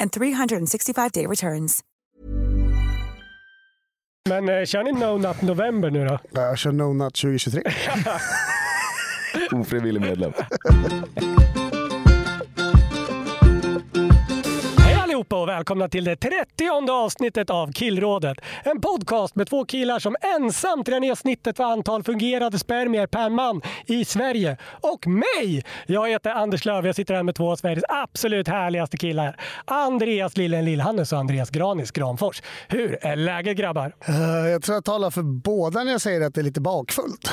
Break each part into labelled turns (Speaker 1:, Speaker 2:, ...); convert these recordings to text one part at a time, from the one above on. Speaker 1: and 365-day returns.
Speaker 2: Men eh, kör ni No Nut November nu då?
Speaker 3: Ja, Eh, Jag kör No Nut 2023.
Speaker 4: Ofrivillig medlem.
Speaker 2: Hej allihopa och välkomna till det 30 avsnittet av Killrådet. En podcast med två killar som ensamt drar ner snittet för antal fungerade spermier per man i Sverige. Och mig! Jag heter Anders Löf och jag sitter här med två av Sveriges absolut härligaste killar. Andreas Lillen Lillhannes och Andreas Granis Granfors. Hur är läget grabbar?
Speaker 3: Eh, Jag tror jag talar för båda när jag säger att det är lite bakfullt.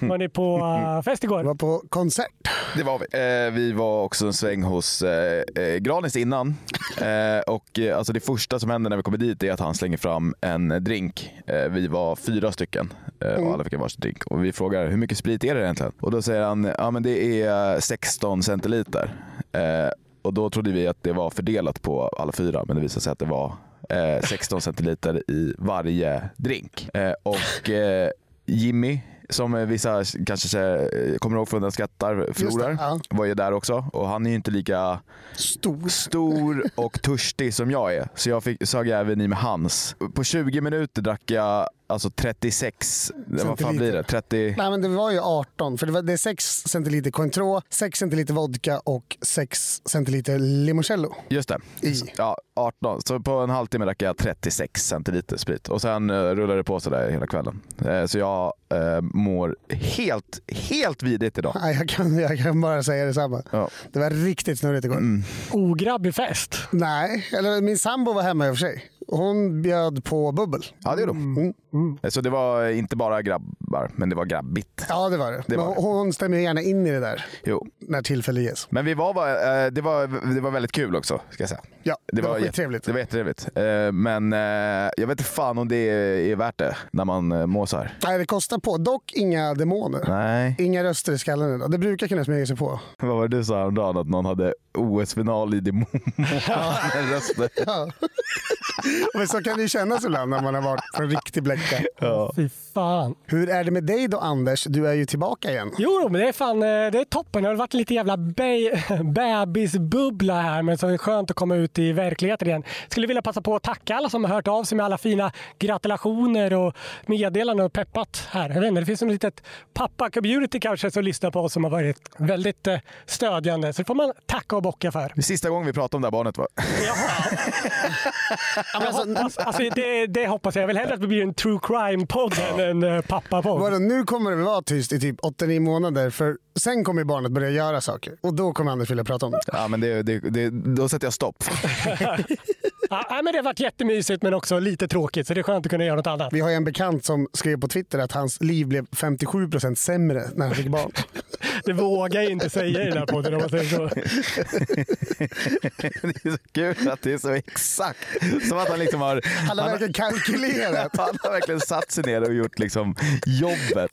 Speaker 2: Var ni på eh, fest
Speaker 3: Jag
Speaker 2: igår?
Speaker 3: var på konsert.
Speaker 4: Det var vi. Eh, vi var också en sväng hos eh, eh, Granis innan. Eh, och eh, alltså det första som händer när vi kommer dit är att han slänger fram en drink. Eh, vi var fyra stycken eh, och alla fick en varsin drink. Och vi frågar hur mycket sprit är det egentligen? Och då säger han ja men det är 16 centiliter. Eh, och då trodde vi att det var fördelat på alla fyra men det visade sig att det var eh, 16 centiliter i varje drink. Eh, och eh, Jimmy som eh, vissa kanske eh, kommer ihåg från Den skrattar förlorar
Speaker 3: ja.
Speaker 4: var ju där också och han är ju inte lika
Speaker 3: Stor.
Speaker 4: stor och törstig som jag är. Så jag fick, sög även i med hans. På 20 minuter drack jag alltså 36, vad fan blir det? 30,
Speaker 3: Nej, men det var ju 18. För det, var, det är 6 centiliter Cointreau, 6 centiliter vodka och 6 centiliter limoncello.
Speaker 4: just det.
Speaker 3: I.
Speaker 4: Ja, 18. Så på en halvtimme drack jag 36 centiliter sprit och sen eh, rullade det på sådär hela kvällen. Eh, så jag eh, mår helt, helt vidrigt idag.
Speaker 3: Nej, jag, kan, jag kan bara säga detsamma.
Speaker 4: Ja. Mm.
Speaker 3: Det var riktigt snurrigt igår.
Speaker 2: Ograbbig fest.
Speaker 3: Nej, eller min sambo var hemma i och för sig. Hon bjöd på bubbel.
Speaker 4: Ja det gjorde
Speaker 3: Mm,
Speaker 4: de. Eh, Så det var inte bara grabbar, men det var grabbigt.
Speaker 3: Ja, det var det.
Speaker 4: Det var
Speaker 3: Men
Speaker 4: det.
Speaker 3: Hon stämmer ju gärna in i det där
Speaker 4: Jo.
Speaker 3: när tillfälle ges.
Speaker 4: Men vi var, va- eh, det, var, det var väldigt kul också, ska jag säga.
Speaker 3: Ja, det, var,
Speaker 4: jätte-
Speaker 3: skittrevligt.
Speaker 4: Det var jättetrevligt. Eh, Men eh, jag vet inte fan om det är värt det när man eh, mår så här.
Speaker 3: Nej, det kostar på. Dock inga demoner.
Speaker 4: Nej.
Speaker 3: Inga röster i skallen idag. Det brukar kunna smyga sig på.
Speaker 4: Vad var det du sa häromdagen? Att någon hade OS-final i demonröster?
Speaker 3: Men så kan det ju kännas ibland när man har varit på en riktig bläcka.
Speaker 2: Fy fan.
Speaker 3: Hur är det med dig då Anders? Du är ju tillbaka igen.
Speaker 2: Jo, då, men det är fan eh, det är toppen. Det har varit lite jävla be- bebisbubbla här, men så är det skönt att komma ut i verkligheten igen. Skulle vilja passa på att tacka alla som har hört av sig med alla fina gratulationer och meddelanden och peppat här. Jag vet inte, det finns ett litet pappa-community kanske som lyssnar på oss som har varit väldigt eh, stödjande. Så det får man tacka och bocka för.
Speaker 4: Det är sista gången vi pratade om det här barnet va?
Speaker 2: Jag hoppas, alltså, det, det hoppas jag. Jag vill hellre att det blir en true crime-podd än en eh, pappa-podd.
Speaker 3: Vadå, nu kommer det vara tyst i typ 8-9 månader för sen kommer ju barnet börja göra saker och då kommer Anders vilja prata om det.
Speaker 4: Ja, men det, det, det, då sätter jag stopp.
Speaker 2: Ja, nej, men det har varit jättemysigt men också lite tråkigt, så det är skönt att kunna göra något annat.
Speaker 3: Vi har ju en bekant som skrev på Twitter att hans liv blev 57% sämre när han fick barn.
Speaker 2: Det vågar jag inte säga i den här podden om man säger så.
Speaker 4: Det är så kul att det är så exakt. Som att han liksom har...
Speaker 3: Alla
Speaker 4: han,
Speaker 3: verkar kalkylerat.
Speaker 4: han har verkligen satt sig ner och gjort liksom jobbet.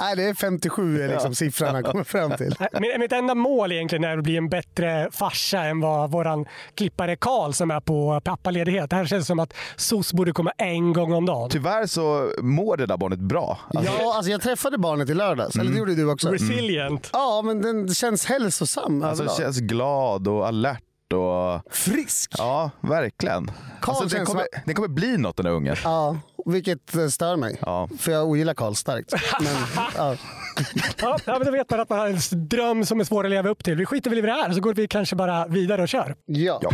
Speaker 3: Nej, det är 57 är liksom siffran han kommer fram till.
Speaker 2: Min- Mitt enda mål egentligen är att bli en bättre farsa än vad våran klippare Karl som är på pappaledighet. Det här känns som att SOS borde komma en gång om dagen.
Speaker 3: Typ-
Speaker 4: Tyvärr så mår det där barnet bra. Alltså,
Speaker 3: Ja, alltså jag träffade barnet i lördags. Eller det gjorde du också.
Speaker 2: Resilient.
Speaker 3: Mm. Ja, men den känns hälsosam
Speaker 4: alltså
Speaker 3: överlag.
Speaker 4: känns glad och alert och...
Speaker 3: Frisk.
Speaker 4: Ja, verkligen.
Speaker 3: Karl
Speaker 4: Alltså, den,
Speaker 3: känns
Speaker 4: kommer, den kommer bli något den där ungen.
Speaker 3: Ja, vilket eh, stör mig.
Speaker 4: Ja.
Speaker 3: För jag ogillar Karl starkt. Men, ja.
Speaker 2: Ja, ja, men då vet man att man har en s- dröm som är svår att leva upp till. Vi skiter väl i det här så går vi kanske bara vidare och kör.
Speaker 3: Ja.
Speaker 4: Ja.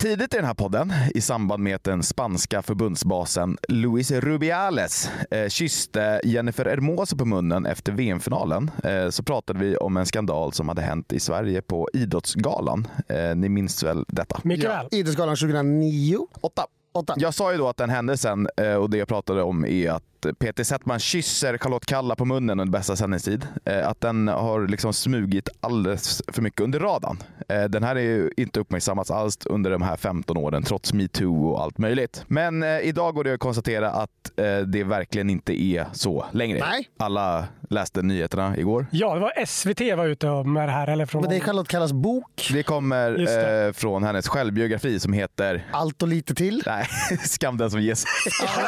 Speaker 4: Tidigt i den här podden, i samband med att den spanska förbundsbasen Luis Rubiales eh, kysste Jennifer Hermoso på munnen efter VM-finalen, eh, så pratade vi om en skandal som hade hänt i Sverige på Idrottsgalan. Eh, ni minns väl detta?
Speaker 2: Mycket
Speaker 3: Ja.
Speaker 2: väl.
Speaker 3: Idrottsgalan 2009.
Speaker 4: Åtta.
Speaker 3: Åtta.
Speaker 4: Jag sa ju då att den händelsen eh, och det jag pratade om är att Peter Settman kysser Charlotte Kalla på munnen under bästa sändningstid. Eh, Att den har liksom smugit alldeles för mycket under radarn. Eh, Den här är ju inte uppmärksammats alls under de här 15 åren trots metoo och allt möjligt. Men eh, idag går det att konstatera att eh, det verkligen inte är så längre.
Speaker 3: Nej.
Speaker 4: Alla läste nyheterna igår.
Speaker 2: Ja, det var SVT var ute med det här. Eller från
Speaker 3: Men det är Charlotte Kallas bok.
Speaker 4: Det kommer
Speaker 2: Just det.
Speaker 4: eh, från hennes självbiografi som heter
Speaker 3: Allt och lite till.
Speaker 4: Nej, skam den som ges.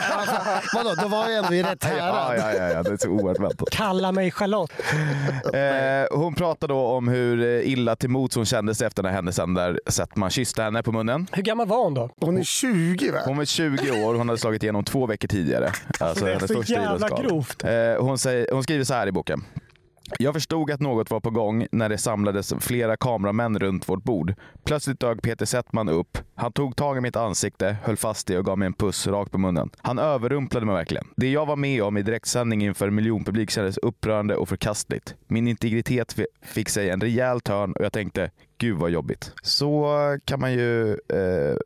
Speaker 3: Vadå, då var jag ändå i rätt
Speaker 4: Ja,
Speaker 3: härad.
Speaker 4: ja, ja, ja, det är så oerhört väntat.
Speaker 2: Kalla mig Charlotte.
Speaker 4: Eh, hon pratar då om hur illa till mots hon kände sig efter den här händelsen där Settman kysste henne på munnen.
Speaker 2: Hur gammal var hon då?
Speaker 3: Hon är 20 va?
Speaker 4: Hon var 20 år och hon hade slagit igenom två veckor tidigare. Alltså
Speaker 2: det är
Speaker 4: hennes
Speaker 2: så
Speaker 4: första
Speaker 2: jävla
Speaker 4: idrottsgal.
Speaker 2: grovt.
Speaker 4: Eh, hon, säger, hon skriver så här i boken. Jag förstod att något var på gång när det samlades flera kameramän runt vårt bord. Plötsligt dök Peter Settman upp. Han tog tag i mitt ansikte, höll fast det och gav mig en puss rakt på munnen. Han överrumplade mig verkligen. Det jag var med om i direktsändning inför en miljonpublik kändes upprörande och förkastligt. Min integritet fi- fick sig en rejäl törn och jag tänkte, gud vad jobbigt. Så kan man ju eh,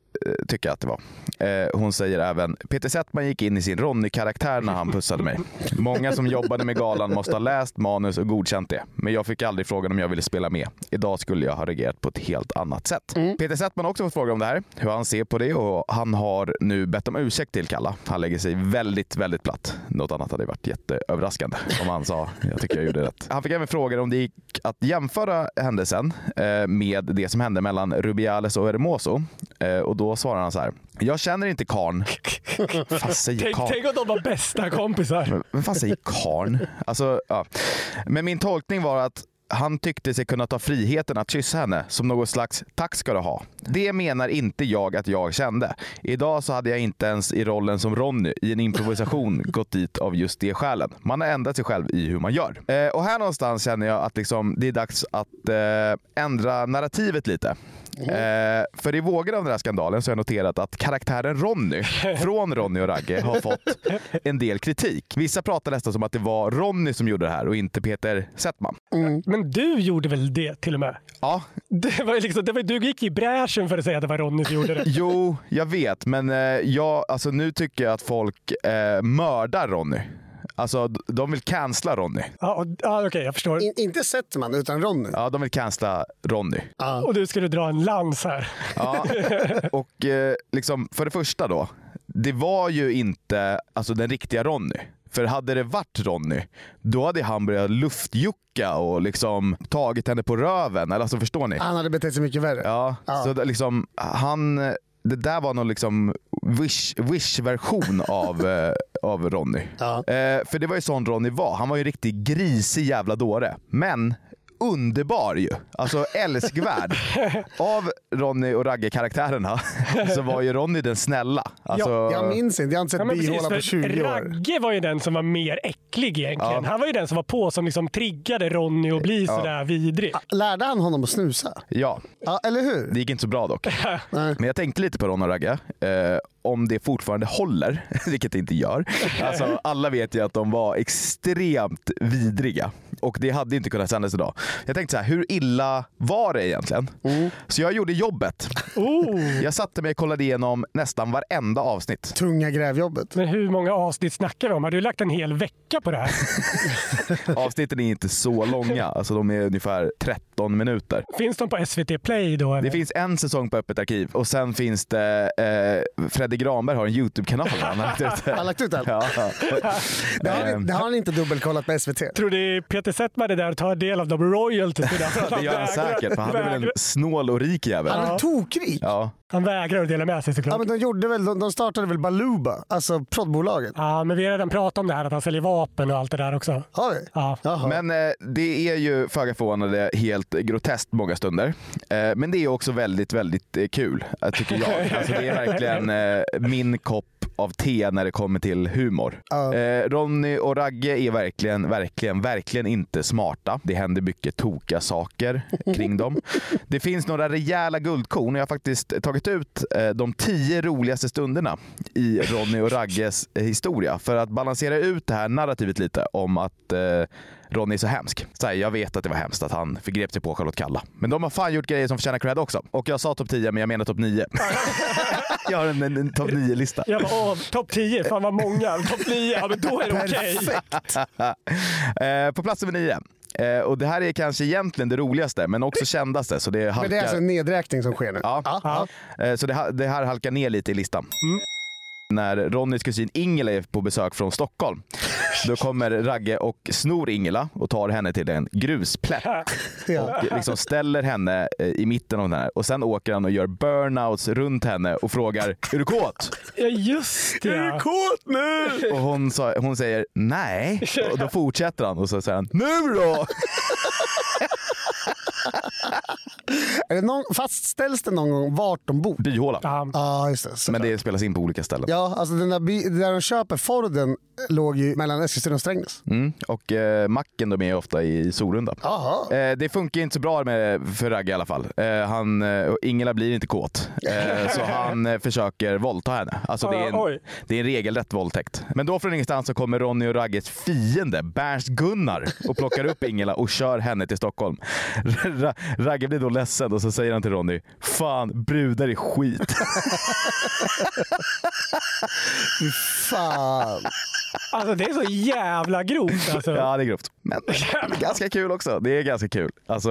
Speaker 4: tycka att det var. Eh, hon säger även Peter Settman gick in i sin Ronny-karaktär när han pussade mig. Många som jobbade med galan måste ha läst manus och godkänt det. Men jag fick aldrig frågan om jag ville spela med. Idag skulle jag ha reagerat på ett helt annat sätt. Peter Settman har också fått fråga om det här, hur han ser på det och han har nu bett om ursäkt till Kalla. Han lägger sig väldigt, väldigt platt. Något annat hade varit jätteöverraskande om han sa jag tycker jag gjorde rätt. Han fick även frågan om det gick att jämföra händelsen eh, med det som hände mellan Rubiales och Hermoso. Eh, Och då svarar han så här. Jag känner inte karn. Fast säger
Speaker 2: Tänk,
Speaker 4: karn.
Speaker 2: tänk om de var bästa kompisar.
Speaker 4: Men vad fan säger karn? Alltså, ja. Men min tolkning var att han tyckte sig kunna ta friheten att kyssa henne som något slags tack ska du ha. Det menar inte jag att jag kände. Idag så hade jag inte ens i rollen som Ronny i en improvisation gått dit av just det skälen. Man har ändrat sig själv i hur man gör. Eh, och här någonstans känner jag att liksom, det är dags att eh, ändra narrativet lite. Eh, för i vågen av den här skandalen så har jag noterat att karaktären Ronny från Ronny och Ragge har fått en del kritik. Vissa pratar nästan som att det var Ronny som gjorde det här och inte Peter Settman.
Speaker 2: Men du gjorde väl det till och med?
Speaker 4: Ja,
Speaker 2: Det var ju liksom, det var, du gick i bräschen för att säga att det var Ronny som gjorde det.
Speaker 4: jo, jag vet, men eh, jag, alltså, nu tycker jag att folk eh, mördar Ronny. Alltså, d- de vill cancella Ronny.
Speaker 2: Ja, och- ja, Okej, jag förstår.
Speaker 3: In, inte Settman, utan Ronny.
Speaker 4: Ja, de vill cancella Ronny.
Speaker 2: Och du skulle dra en lans här.
Speaker 4: Ja. Och eh, liksom, för det första då. Det var ju inte alltså, den riktiga Ronny. För hade det varit Ronny, då hade han börjat luftjucka och liksom tagit henne på röven. Eller alltså förstår ni?
Speaker 3: Han hade betett sig mycket värre.
Speaker 4: Ja,
Speaker 3: Ja.
Speaker 4: så det, liksom, han, det där var någon liksom wish- wish-version av, eh, av Ronny.
Speaker 3: Ja.
Speaker 4: Eh, för det var ju sån Ronny var. Han var ju en riktig grisig jävla dåre. Men underbar ju. Alltså älskvärd. Av Ronny och Ragge-karaktärerna så var ju Ronny den snälla. Alltså,
Speaker 3: Jag minns inte, jag har inte sett
Speaker 2: Ja, men precis,
Speaker 3: bihåla
Speaker 2: för
Speaker 3: på 20 år.
Speaker 2: Ragge var ju den som var mer äcklig egentligen. Han var ju den som var på som liksom triggade Ronny att bli sådär vidrig.
Speaker 3: Lärde han honom att snusa?
Speaker 4: ja,
Speaker 3: Ja, eller hur?
Speaker 4: det gick inte så bra dock. Men jag tänkte lite på Ron och Ragge, eh, om det fortfarande håller, vilket det inte gör. Alltså, alla vet ju att de var extremt vidriga och det hade inte kunnat sändas idag. Jag tänkte så här, hur illa var det egentligen? Så jag gjorde jobbet.
Speaker 2: Oh,
Speaker 4: Jag satte mig och kollade igenom nästan varenda avsnitt.
Speaker 3: Tunga grävjobbet.
Speaker 2: men hur många avsnitt snackar vi om? Har du lagt en hel vecka på det här?
Speaker 4: Avsnitten är inte så långa, alltså de är ungefär 13 minuter.
Speaker 2: Finns de på SVT Play då? Eller?
Speaker 4: Det finns en säsong på Öppet arkiv och sen finns det... Eh, Fredrik Granberg har en YouTube-kanal. Han har lagt ut
Speaker 3: Har han lagt ut den?
Speaker 4: Ja.
Speaker 3: Det har,
Speaker 4: Ehm,
Speaker 3: han, det har han inte dubbelkollat på SVT.
Speaker 2: Tror du Peter Settman är där och tar del av de royalties? för att
Speaker 4: Eh, Det gör han säkert, för han är väl en
Speaker 2: vägrar-
Speaker 4: snål och rik
Speaker 3: Han
Speaker 4: jävel.
Speaker 3: är tokrik. Ja.
Speaker 4: Ja.
Speaker 2: han vägrar att dela med sig såklart.
Speaker 3: men de, gjorde väl, de, de startade väl Baluba, alltså proddbolaget?
Speaker 2: Ja, men vi har redan pratat om det här att han säljer vapen och allt det där också.
Speaker 3: Har vi?
Speaker 2: Ja.
Speaker 3: Jaha.
Speaker 4: Men eh, det är ju föga förvånande helt groteskt många stunder. Eh, men det är också väldigt, väldigt eh, kul, eh, tycker jag. Alltså, det är verkligen eh, min kopp av te när det kommer till humor.
Speaker 3: Ja.
Speaker 4: Eh, Ronny och Ragge är verkligen, verkligen, verkligen inte smarta. Det händer mycket tokiga saker kring dem. Det finns några rejäla guldkorn. Jag har faktiskt tagit tagit ut eh, de tio roligaste stunderna i Ronny och Ragges eh, historia för att balansera ut det här narrativet lite om att eh, Ronny är så hemsk. Så här, jag vet att det var hemskt att han förgrep sig på Charlotte Kalla. Men de har fan gjort grejer som förtjänar cred också. Och jag sa topp 10 men jag menar topp 9. jag har en, en, en topp 9-lista.
Speaker 2: Jag bara, åh, topp 10, fan vad många. Topp 9, ja men då är det okej.
Speaker 4: Eh, på plats nummer 9. Eh, och det här är kanske egentligen det roligaste men också kändaste. Så det halkar...
Speaker 3: Men det är alltså en nedräkning som sker nu?
Speaker 4: Ja.
Speaker 2: Ja.
Speaker 4: Eh, Så det, ha- det här halkar ner lite i listan.
Speaker 3: Mm.
Speaker 4: När Ronnys kusin Ingela är på besök från Stockholm, då kommer Ragge och snor Ingela och tar henne till en grusplätt.
Speaker 3: Ja.
Speaker 4: Och liksom ställer henne eh, i mitten av den här. Och sen åker han och gör burnouts runt henne och frågar “Är du kåt?”
Speaker 2: Ja, just det.
Speaker 3: kåt nu?
Speaker 4: Och hon, sa, hon säger “Nej”. Och då fortsätter han och så säger han “Nu då?”
Speaker 3: Är det någon, fastställs det någon gång vart de bor?
Speaker 4: Byhåla.
Speaker 2: Ja.
Speaker 3: Ja, just det. Så.
Speaker 4: Men det spelas in på olika ställen.
Speaker 3: Ja, alltså den där, by, där de köper Forden eh, låg ju mellan Eskilstuna och Strängnäs.
Speaker 4: Mm. Och eh, macken de är ofta i Sorunda.
Speaker 3: Jaha.
Speaker 4: Eh, det funkar inte så bra med, för Ragge i alla fall. Eh, han, eh, och Ingela blir inte kåt, eh, så han eh, försöker våldta henne. Alltså, det, är
Speaker 2: Ah, oj.
Speaker 4: en, det är en regelrätt våldtäkt. Men då från ingenstans så kommer Ronny och Ragges fiende, Berns-Gunnar, och plockar upp Ingela och kör henne till Stockholm. Ra- Ragge blir då ledsen och så säger han till Ronny, fan brudar är skit.
Speaker 3: Fan.
Speaker 2: Alltså det är så jävla grovt alltså.
Speaker 4: Ja, det är grovt. Men ganska kul också. Det är ganska kul. Alltså,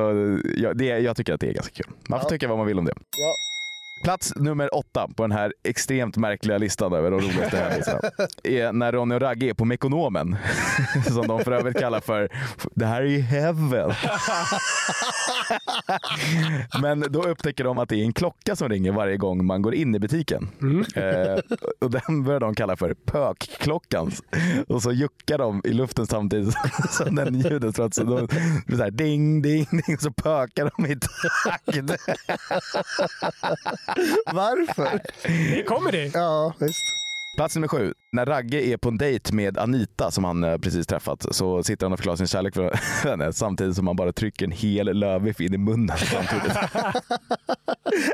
Speaker 4: jag, det, jag tycker att det är ganska kul. Man får tycka vad man vill om det.
Speaker 3: Ja.
Speaker 4: Plats nummer åtta på den här extremt märkliga listan över de roligaste händelserna är när Ronny och Ragge är på Mekonomen, som de för övrigt kallar för “det här är ju heaven”. Men då upptäcker de att det är en klocka som ringer varje gång man går in i butiken. Eh, och den börjar de kalla för pökklockan. Och så juckar de i luften samtidigt som den ljudet. Så att så de, så här, ding, ding, ding. Så pökar de i takt.
Speaker 3: Varför?
Speaker 2: Det kommer det.
Speaker 3: Ja, visst.
Speaker 4: Plats nummer sju. När Ragge är på en dejt med Anita som han eh, precis träffat så sitter han och förklarar sin kärlek för henne samtidigt som han bara trycker en hel lövbiff in i munnen samtidigt.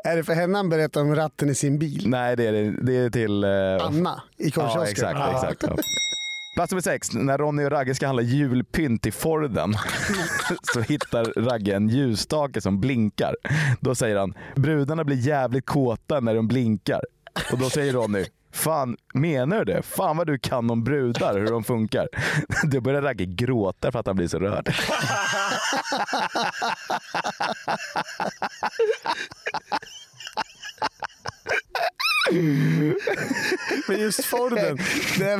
Speaker 3: Är det för henne han berättar om ratten i sin bil?
Speaker 4: Nej, det är, det är till... eh,
Speaker 3: Anna i korvkiosken.
Speaker 4: Ja, exakt. exakt ja. Plats nummer sex. När Ronny och Ragge ska handla julpynt till Forden så hittar Ragge en ljusstake som blinkar. Då säger han “Brudarna blir jävligt kåta när de blinkar” och då säger Ronny Fan, menar du det? Fan vad du kan om brudar, hur de funkar. Då börjar Ragge gråta för att han blir så rörd.
Speaker 3: Men just Forden. det är,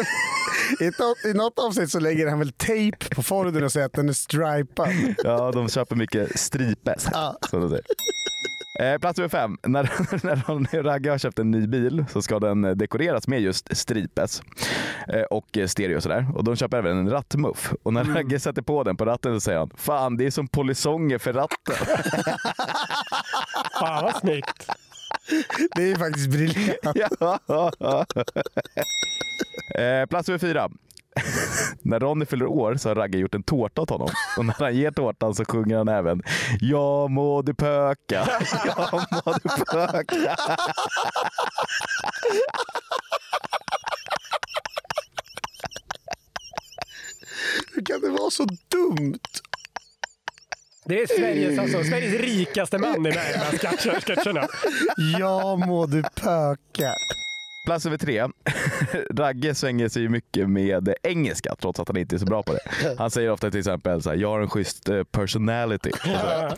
Speaker 3: i, något, I något avsnitt så lägger han väl tejp på Forden och säger att den är stripad.
Speaker 4: Ja, de köper mycket stripe. Som de säger. Eh, plats nummer fem. När, när Ronny och Ragge har köpt en ny bil så ska den eh, dekoreras med just stripes eh, och eh, stereo och sådär. Och de köper även en rattmuff. Och när Ragge sätter på den på ratten så säger han Fan, det är som polisonger för ratten.
Speaker 2: Fan vad snyggt.
Speaker 3: Det är ju faktiskt briljant.
Speaker 4: eh, plats nummer fyra. När Ronny fyller år så har Ragge gjort en tårta åt honom. Och när han ger tårtan så sjunger han även “Jag må du pöka, jag må du pöka”.
Speaker 3: Hur kan det vara så dumt?
Speaker 2: Det är Sveriges, alltså, Sveriges rikaste man i alltså, de här sketcher- sketcherna.
Speaker 3: Ja må du pöka.
Speaker 4: Plats över tre. Ragge svänger sig ju mycket med engelska trots att han inte är så bra på det. Han säger ofta till exempel så här, jag har en schysst eh, personality. Och så här.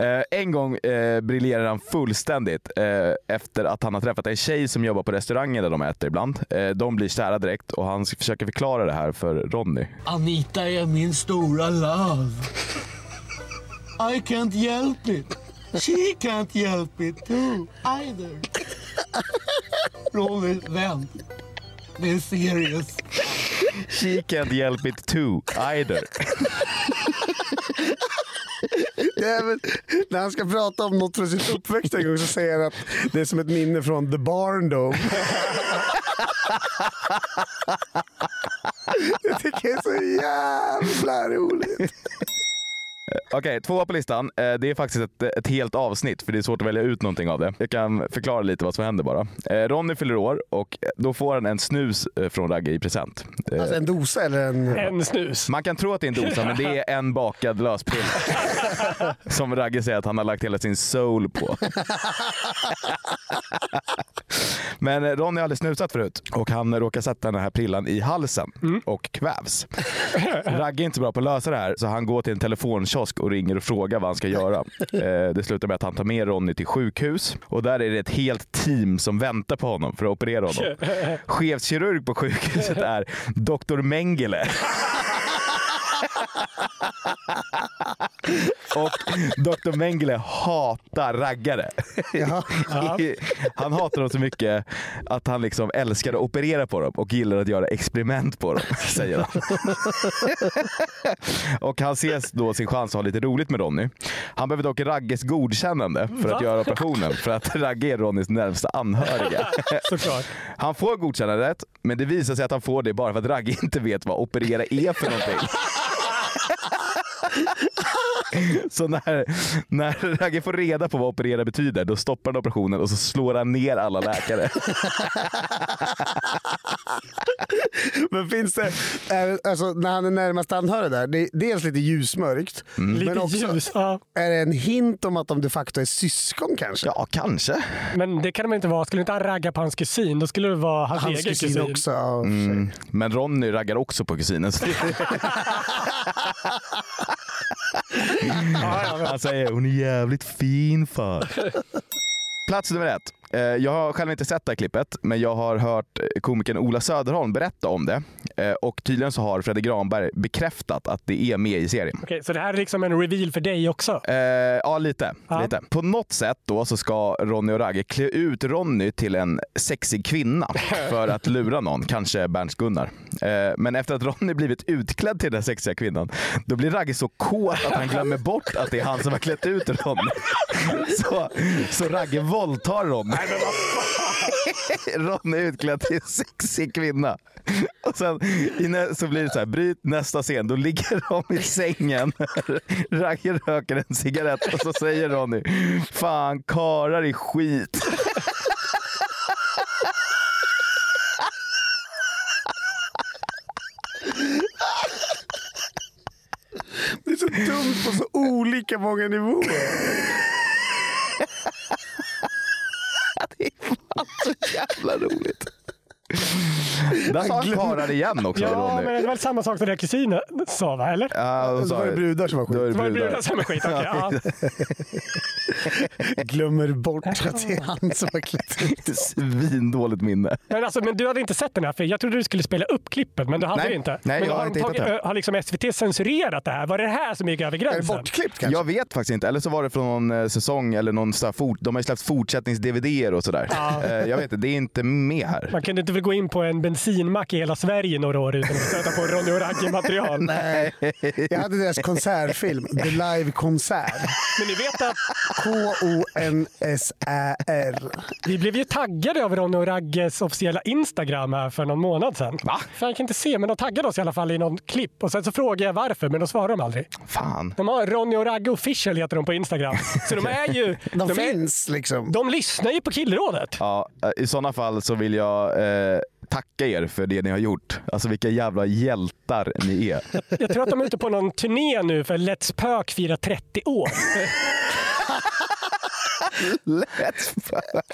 Speaker 4: Eh, en gång eh, briljerar han fullständigt eh, efter att han har träffat en tjej som jobbar på restaurangen där de äter ibland. Eh, de blir kära direkt och han försöker förklara det här för Ronny.
Speaker 5: Anita är min stora love. I can't help it. She can't help it too, either. Ronny, vänd. Det är serious.
Speaker 4: She can't help it too either.
Speaker 3: Det är väl, när han ska prata om något från sin uppväxt en gång så säger han att det är som ett minne från The Barn Dome. Det tycker jag är så jävla roligt.
Speaker 4: Okej, tvåa på listan. Eh, Det är faktiskt ett, ett helt avsnitt för det är svårt att välja ut någonting av det. Jag kan förklara lite vad som händer bara. Eh, Ronny fyller år och då får han en snus eh, från Ragge i present. Eh,
Speaker 3: Alltså en dosa eller en...
Speaker 2: En snus.
Speaker 4: Man kan tro att det är en dosa, men det är en bakad lösprilla. Som Ragge säger att han har lagt hela sin soul på. Men eh, Ronny har aldrig snusat förut och han råkar sätta den här prillan i halsen och kvävs. Ragge är inte bra på att lösa det här så han går till en telefonkiosk och ringer och frågar vad han ska göra. Eh, Det slutar med att han tar med Ronny till sjukhus och där är det ett helt team som väntar på honom för att operera honom. Chefskirurg på sjukhuset är Dr Mengele. Och Dr Mengele hatar raggare. Han hatar dem så mycket att han liksom älskar att operera på dem och gillar att göra experiment på dem, säger han. Och han ses då sin chans att ha lite roligt med Ronny. Han behöver dock Ragges godkännande för att göra operationen för att Ragge är Ronnys närmsta anhöriga.
Speaker 2: Såklart.
Speaker 4: Han får godkännandet, men det visar sig att han får det bara för att Ragge inte vet vad operera är för någonting. Så när, när Ragge får reda på vad operera betyder, då stoppar han operationen och så slår han ner alla läkare.
Speaker 3: Men finns det... är- Alltså när han är närmast anhörig där, det är dels lite ljusmörkt.
Speaker 2: Lite
Speaker 3: Men också,
Speaker 2: ljus. Ja.
Speaker 3: är det en hint om att de de facto är syskon kanske?
Speaker 4: Ja, kanske.
Speaker 2: Men det kan de inte vara. Skulle inte han ragga på hans kusin, då skulle det vara hans,
Speaker 3: Hans
Speaker 2: egen kusin.
Speaker 3: kusin också. Ja, mm.
Speaker 4: Men Ronny raggar också på kusinen. Så Han säger hon är jävligt fin far. Plats nummer ett. Eh, Jag har själv inte sett det här klippet, men jag har hört eh, komikern Ola Söderholm berätta om det. Eh, Och tydligen så har Fredrik Granberg bekräftat att det är med i serien.
Speaker 2: Okej, så det här är liksom en reveal för dig också?
Speaker 4: Eh, ja, lite,
Speaker 2: Ja.
Speaker 4: lite. På något sätt då så ska Ronny och Ragge klä ut Ronny till en sexig kvinna för att lura någon, kanske Berns-Gunnar. Eh, men efter att Ronny blivit utklädd till den sexiga kvinnan, då blir Ragge så kåt att han glömmer bort att det är han som har klätt ut Ronny. Så, så Ragge våldtar Ronny. Ronny är utklädd till en sexig kvinna. Och sen i nä- så blir det så här, bryt nästa scen. Då ligger de i sängen. Ragge röker en cigarett och så säger Ronny, fan karar i skit.
Speaker 3: Det är så dumt på så olika många nivåer.
Speaker 4: Jävla roligt. Där sa han karar igen också
Speaker 2: Ja, men
Speaker 4: Ronny.
Speaker 2: det var väl samma sak som den där kusinen sa, va? Eller?
Speaker 4: Ja, då
Speaker 3: Så
Speaker 4: sa
Speaker 3: var det
Speaker 4: jag-
Speaker 3: brudar som var skit.
Speaker 4: Då är det
Speaker 2: Det var ju brudar
Speaker 4: brudar.
Speaker 2: som är skit. okej, ja.
Speaker 3: Glömmer bort att det är han som har klätt ut.
Speaker 4: Svindåligt minne.
Speaker 2: Men, alltså, men du hade inte sett den här, för jag trodde du skulle spela upp klippet, men du hade
Speaker 4: Nej.
Speaker 2: du inte.
Speaker 4: Nej,
Speaker 2: men
Speaker 4: jag
Speaker 2: då
Speaker 4: har
Speaker 2: de
Speaker 4: inte hittat
Speaker 2: tagit- Har liksom SVT censurerat det här? Var det det här som gick över
Speaker 3: Är det
Speaker 2: gränsen?
Speaker 3: bortklippt kanske?
Speaker 4: Jag vet faktiskt inte. Eller så var det från någon eh, säsong eller någon så här fort, de har ju släppt fortsättnings-DVD-er och sådär. Eh, Jag vet inte, det är inte med här.
Speaker 2: Man kunde inte väl gå in på en bensinmack i hela Sverige några år utan att stöta på Ronny och Ragge-material. Men
Speaker 3: Jag hade deras konsertfilm, The Live Konsert.
Speaker 2: ni vet att
Speaker 3: K-O-N-S-Ä-R.
Speaker 2: vi blev ju taggade av Ronny och Ragges officiella Instagram här för någon månad sedan. Va? För jag kan inte se, men de taggade oss i alla fall i någon klipp. Och sen så frågade jag varför, men då svarade de aldrig.
Speaker 4: Fan.
Speaker 2: De har Ronny och Ragge official heter de på Instagram. Så de är ju...
Speaker 3: De,
Speaker 2: är-
Speaker 3: finns liksom.
Speaker 2: de lyssnar ju på Killrådet.
Speaker 4: Ja, eh, I sådana fall så vill jag eh, tacka er för det ni har gjort. Alltså vilka jävla hjältar ni är.
Speaker 2: Jag tror att de är ute på någon turné nu för Let's Pök firar 30 år.
Speaker 4: Let's fuck.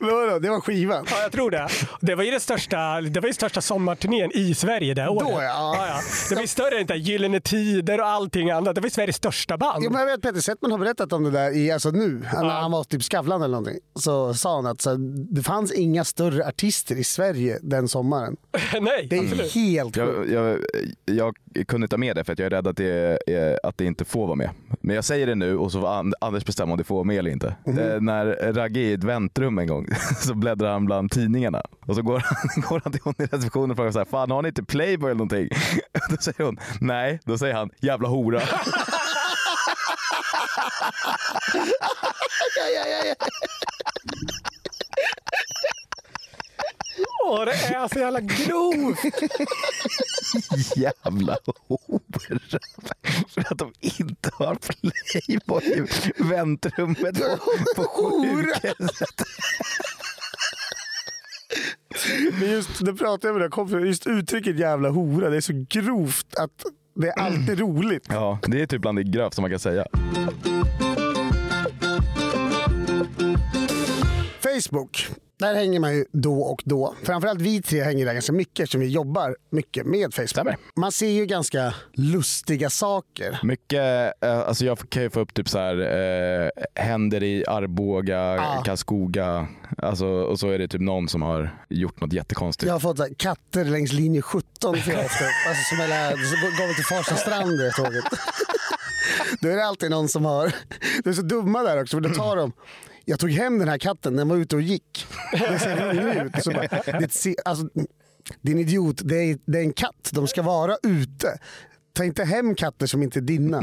Speaker 3: Men vadå, det var skivan.
Speaker 2: Ja, jag tror det. Det var ju den största, det var ju största sommarturnén i Sverige det året.
Speaker 3: ja.
Speaker 2: Det var ju större än det där Gyllene Tider och allting annat. Det var ju Sveriges största band.
Speaker 3: Jo, men jag vet Peter Settman har berättat om det där i, alltså nu, när han var typ Skavlan eller någonting. Så sa han att så, här, det fanns inga större artister i Sverige den sommaren.
Speaker 2: Nej,
Speaker 3: Det är
Speaker 2: absolut.
Speaker 3: helt sjukt.
Speaker 4: Jag, jag, jag kunde ta med det för att jag är rädd att det, är, att det inte får vara med. Men jag säger det nu och så får And- Anders bestämma om det får vara med eller inte. Eh, när Ragge är i ett väntrum en gång så bläddrar han bland tidningarna och så går han, går han till hon i receptionen och frågar så här, Fan har ni inte Playboy eller någonting? Då säger hon nej. Då säger han jävla hora.
Speaker 2: Åh, det är så jävla grovt.
Speaker 4: jävla horor. För att de inte har Playboy i väntrummet på, på sjukhuset.
Speaker 3: Men just, det pratade jag med den kompisen Just uttrycket jävla hora, det är så grovt att det är alltid roligt.
Speaker 4: Ja, det är typ bland det grövsta man kan säga.
Speaker 3: Facebook. Där hänger man ju då och då. Framförallt vi tre hänger där ganska mycket eftersom vi jobbar mycket med Facebook.
Speaker 4: Stämmer.
Speaker 3: Man ser ju ganska lustiga saker.
Speaker 4: Mycket, eh, alltså jag kan ju få upp typ så här, eh, händer i Arboga,
Speaker 3: Ja.
Speaker 4: Karlskoga. Alltså, och så är det typ någon som har gjort något jättekonstigt.
Speaker 3: Jag har fått så här, katter längs linje 17 för jag ofta. Alltså som hela, som går väl till Farsta strand det tåget. Då är det alltid någon som har... De är så dumma där också för då tar de... Jag tog hem den här katten, den var ute och gick. Den ser rolig ut. Så bara, det är ett, se- alltså, din idiot, det är, det är en katt. De ska vara ute. Ta inte hem katter som inte är dina.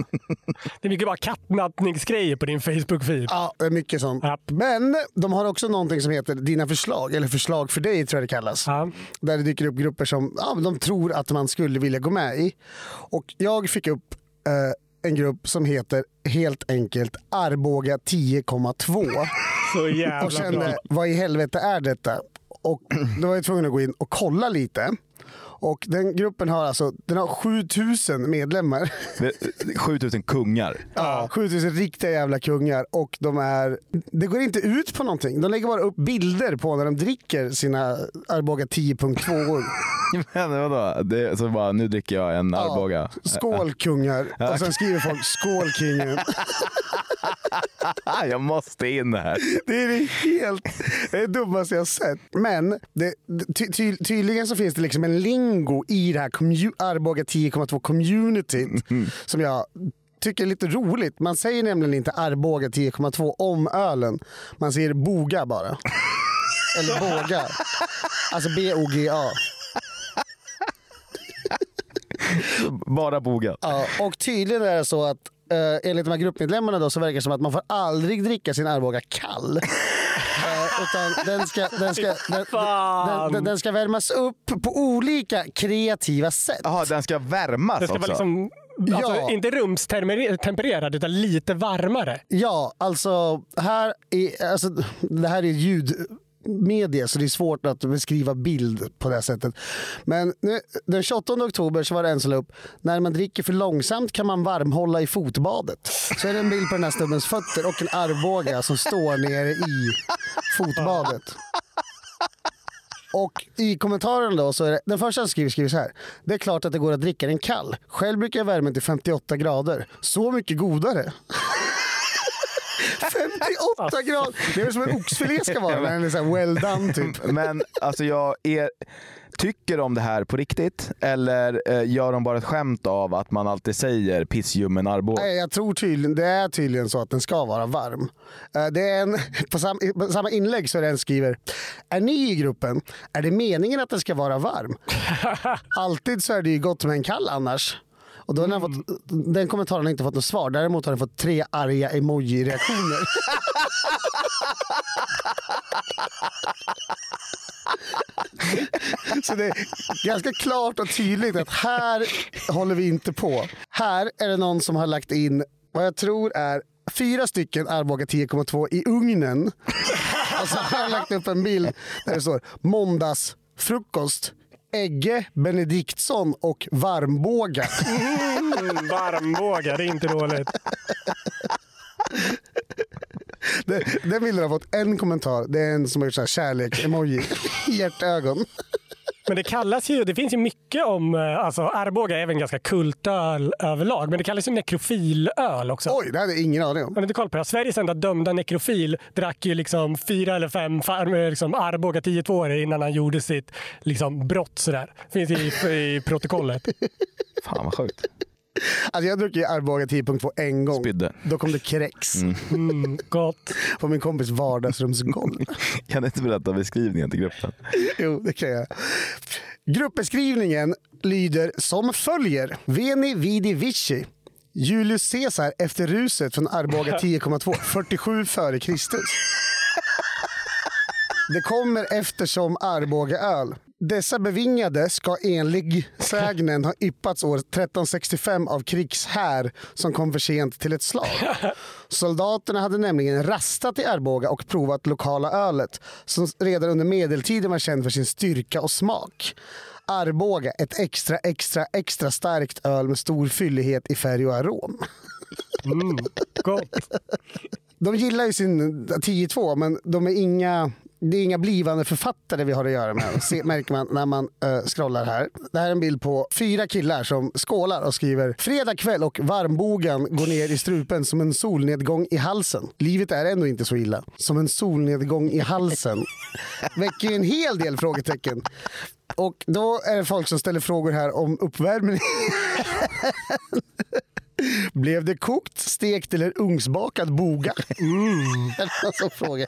Speaker 2: Det är mycket bara kattnattningsgrejer på din Facebook-feed.
Speaker 3: Ja, det är mycket sånt.
Speaker 2: Ja.
Speaker 3: Men de har också någonting som heter Dina förslag, eller Förslag för dig tror jag det kallas.
Speaker 2: Ja.
Speaker 3: Där det dyker upp grupper som ja, men de tror att man skulle vilja gå med i. Och jag fick upp eh, en grupp som heter helt enkelt Arboga 10,2
Speaker 2: Så jävla
Speaker 3: och eh, kände
Speaker 2: bra.
Speaker 3: vad i helvete är detta? Och då var jag tvungen att gå in och kolla lite. Och den gruppen har alltså den har 7000 medlemmar.
Speaker 4: Det- 7000 kungar.
Speaker 3: Ja. 7000 riktiga jävla kungar och de är... Det går inte ut på någonting. De lägger bara upp bilder på när de dricker sina Arboga 10.2.
Speaker 4: Men vadå? Det, så bara, nu dricker jag en Arboga.
Speaker 3: Skål kungar. Och sen skriver folk skål kingen.
Speaker 4: Ah, jag måste in här.
Speaker 3: Det är det helt det är det dummaste jag har sett. Men det, ty, ty, tydligen så finns det liksom en lingo i det här commu- Arboga 10,2 communityt som jag tycker är lite roligt. Man säger nämligen inte Arboga 10,2 om ölen. Man säger boga bara. Eller båga. Alltså B-O-G-A.
Speaker 4: Bara boga.
Speaker 3: Ja, och tydligen är det så att eh, enligt de här gruppmedlemmarna då, så verkar det som att man får aldrig dricka sin Arboga kall. Eh, utan den ska, den, ska, den, den, den, den ska värmas upp på olika kreativa sätt.
Speaker 4: Jaha, den ska värmas
Speaker 2: Det ska vara
Speaker 4: också?
Speaker 2: liksom, alltså,
Speaker 3: Ja.
Speaker 2: inte rumstempererad utan lite varmare.
Speaker 3: Ja, alltså, här är, alltså det här är ljudmedia så det är svårt att beskriva bild på det här sättet. Men nu, den 28 oktober så var det en som la upp när man dricker för långsamt kan man varmhålla i fotbadet. Så är det en bild på den här stubbens fötter och en armbåge som står nere i fotbadet. Och i kommentaren då så är det, den första som skriver, skriver så här. Det är klart att det går att dricka den kall. Själv brukar jag värma den till 58 grader. Så mycket godare. 58 grader! Det är väl som en oxfilé ska vara när den är så här well done typ.
Speaker 2: liksom-
Speaker 4: Men alltså jag är... Tycker de det här på riktigt eller eh, gör de bara ett skämt av att man alltid säger pissljummen Arboga?
Speaker 3: Nej, jag tror tydligen, det är tydligen så att den ska vara varm. Eh, Det är en, på, sam, i- på samma inlägg så är det en skriver Är ni i gruppen? Är det meningen att den ska vara varm? Alltid så är det ju gott med en kall annars. Och då har den, fått, den kommentaren har inte fått något svar. Däremot har den fått tre arga emoji-reaktioner. Så det är ganska klart och tydligt att här håller vi inte på. Här är det någon som har lagt in vad jag tror är fyra stycken Arboga 10,2 i ugnen. Och så har jag lagt upp en bild där det står måndagsfrukost. Egge, Benediktsson och varmbåga.
Speaker 2: Mm, varmbåga, det är inte dåligt.
Speaker 3: Den, den bilden har fått en kommentar. Det är en som har gjort så här kärlek-emoji. Hjärtögon.
Speaker 2: Men det kallas ju, det finns ju mycket om, eh, alltså Arboga är även ganska kultöl överlag, men det kallas ju nekrofilöl också.
Speaker 3: Oj, det hade jag ingen aning om.
Speaker 2: Har ni inte koll på det här? Sveriges enda dömda nekrofil drack ju liksom fyra eller fem farm, eh, liksom Arboga 10 innan han gjorde sitt liksom brott. Sådär. Finns i, i protokollet.
Speaker 4: Fan vad sjukt.
Speaker 3: Alltså jag drack ju Arboga 10.2 en gång.
Speaker 4: Spydde.
Speaker 3: Då kom det kräks
Speaker 2: Mm, gott.
Speaker 3: på min kompis vardagsrumsgolv.
Speaker 4: Kan du inte berätta beskrivningen till gruppen?
Speaker 3: jo, det kan jag. Gruppbeskrivningen lyder som följer. Veni vidi vici. Julius Caesar efter ruset från Arboga 10,2, 47 före Kristus. Det kommer eftersom Arboga öl. Dessa bevingade ska enlig sägnen ha yppats år 1365 av krigshär som kom för sent till ett slag. Soldaterna hade nämligen rastat i Arboga och provat lokala ölet som redan under medeltiden var känd för sin styrka och smak. Arboga, ett extra, extra, extra starkt öl med stor fyllighet i färg och arom.
Speaker 2: Mm, gott.
Speaker 3: De gillar ju sin 10-2, men de är inga, det är inga blivande författare vi har att göra med. Se, märker man när man eh, scrollar här. Det här är en bild på fyra killar som skålar och skriver “Fredag kväll och varmbogen går ner i strupen som en solnedgång i halsen. Livet är ändå inte så illa. Som en solnedgång i halsen.” Väcker ju en hel del frågetecken. Och då är det folk som ställer frågor här om uppvärmning. Blev det kokt, stekt eller ugnsbakad boga? Eller vad som frågar.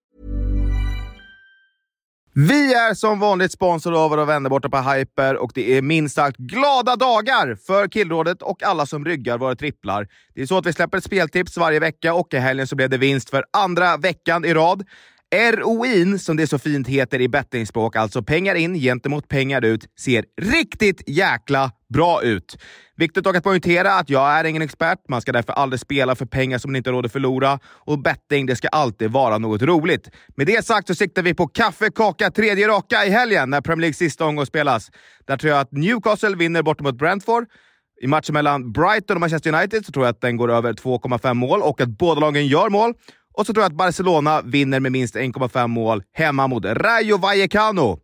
Speaker 5: Vi är som vanligt sponsrade av våra vänner borta på Hyper och det är minst sagt glada dagar för Killrådet och alla som ryggar våra tripplar. Det är så att vi släpper ett speltips varje vecka och i helgen så blev det vinst för andra veckan i rad. ROI'n, som det så fint heter i bettingspråk, alltså pengar in gentemot pengar ut, ser riktigt jäkla bra ut. Viktigt dock att poängtera att jag är ingen expert. Man ska därför aldrig spela för pengar som man inte har råd att förlora. Och betting, det ska alltid vara något roligt. Med det sagt så siktar vi på kaffe, kaka, tredje raka i helgen när Premier Leagues sista omgång spelas. Där tror jag att Newcastle vinner borta mot Brentford. I matchen mellan Brighton och Manchester United så tror jag att den går över 2,5 mål och att båda lagen gör mål. Och så tror jag att Barcelona vinner med minst 1,5 mål hemma mot Rayo Vallecano.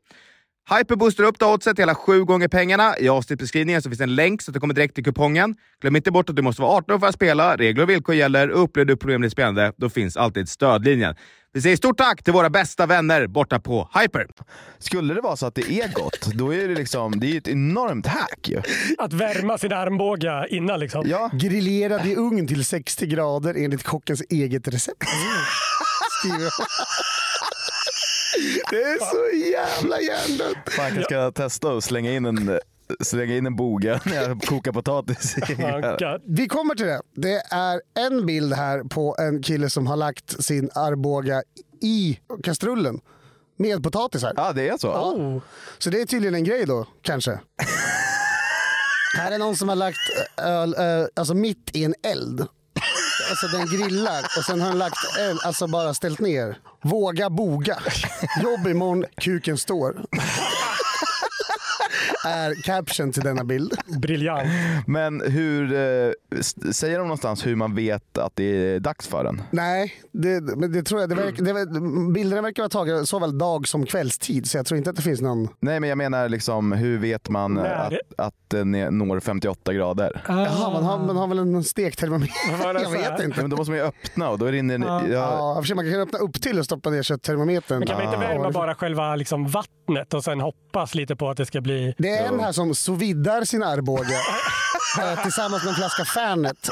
Speaker 5: Hyper boostar upp det oddset hela sju gånger pengarna. I avsnittbeskrivningen så finns en länk så att du kommer direkt till kupongen. Glöm inte bort att du måste vara 18 år för att spela. Regler och villkor gäller. Upplever du problem med spelande, då finns alltid stödlinjen. Vi säger stort tack till våra bästa vänner borta på Hyper!
Speaker 4: skulle det vara så att det är gott, då är det liksom, det är ju ett enormt hack ju.
Speaker 2: Att värma sin armbåge innan liksom.
Speaker 4: Ja.
Speaker 3: Grillerad i ugn till 60 grader enligt kockens eget recept. Skriver han. Det är så jävla hjärndött.
Speaker 4: Fan, jag ska testa och slänga in en, slänga in en boga när jag kokar potatis.
Speaker 2: Tankar.
Speaker 3: Vi kommer till det. Det är en bild här på en kille som har lagt sin arboga i kastrullen med potatisar.
Speaker 4: Ja, det är så?
Speaker 3: Oh. Så det är tydligen en grej då, kanske. här är någon som har lagt öl eh, alltså mitt i en eld. Alltså den grillar och sen har den lagt öl, alltså bara ställt ner. Våga boga. Jobb imorgon, kuken står. är caption till denna bild.
Speaker 2: Briljant.
Speaker 4: Men hur, eh, s- säger de någonstans hur man vet att det är dags för den?
Speaker 3: Nej, det, men det tror jag. Det verk, det, ver- bilderna verkar vara tagna såväl dag som kvällstid, så jag tror inte att det finns någon...
Speaker 4: Nej, men jag menar liksom, hur vet man eh,
Speaker 2: När?
Speaker 4: att, att den är- når 58 grader?
Speaker 3: Jaha, man har, man har väl en stektermometer?
Speaker 2: Var det
Speaker 3: Jag
Speaker 2: så här?
Speaker 3: vet inte.
Speaker 4: Nej, men då måste man ju öppna och då rinner den... Ja,
Speaker 3: Ja, i och för sig, man kan öppna upp till och stoppa ner kötttermometern.
Speaker 2: Men kan man inte
Speaker 3: Ja,
Speaker 2: värma
Speaker 3: varför-
Speaker 2: bara själva liksom, vattnet och sen hoppas lite på att det ska bli...
Speaker 3: Det är en här som sovidar sin armbåge eh, tillsammans med en flaska Fernet.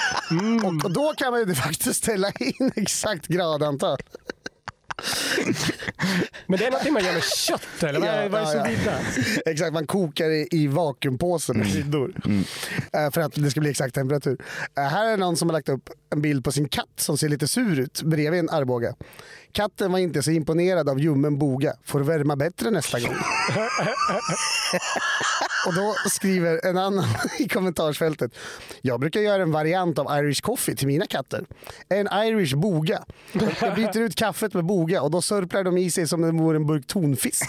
Speaker 3: Och, och då kan man ju faktiskt ställa in exakt gradantal.
Speaker 2: Men det är någonting man gör med kött eller? Vad är, vad är
Speaker 3: Ja,
Speaker 2: så
Speaker 3: ja, ja.
Speaker 2: vidare?
Speaker 3: Exakt, man kokar i, i vakuumpåse med kryddor. Eh, För att det ska bli exakt temperatur. Eh, Här är någon som har lagt upp en bild på sin katt som ser lite sur ut bredvid en armbåge. Katten var inte så imponerad av ljummen boga. Får värma bättre nästa gång. Och då skriver en annan i kommentarsfältet. Jag brukar göra en variant av Irish coffee till mina katter. En Irish boga. Jag byter ut kaffet med boga och då sörplar de i sig som om det vore en burk tonfisk.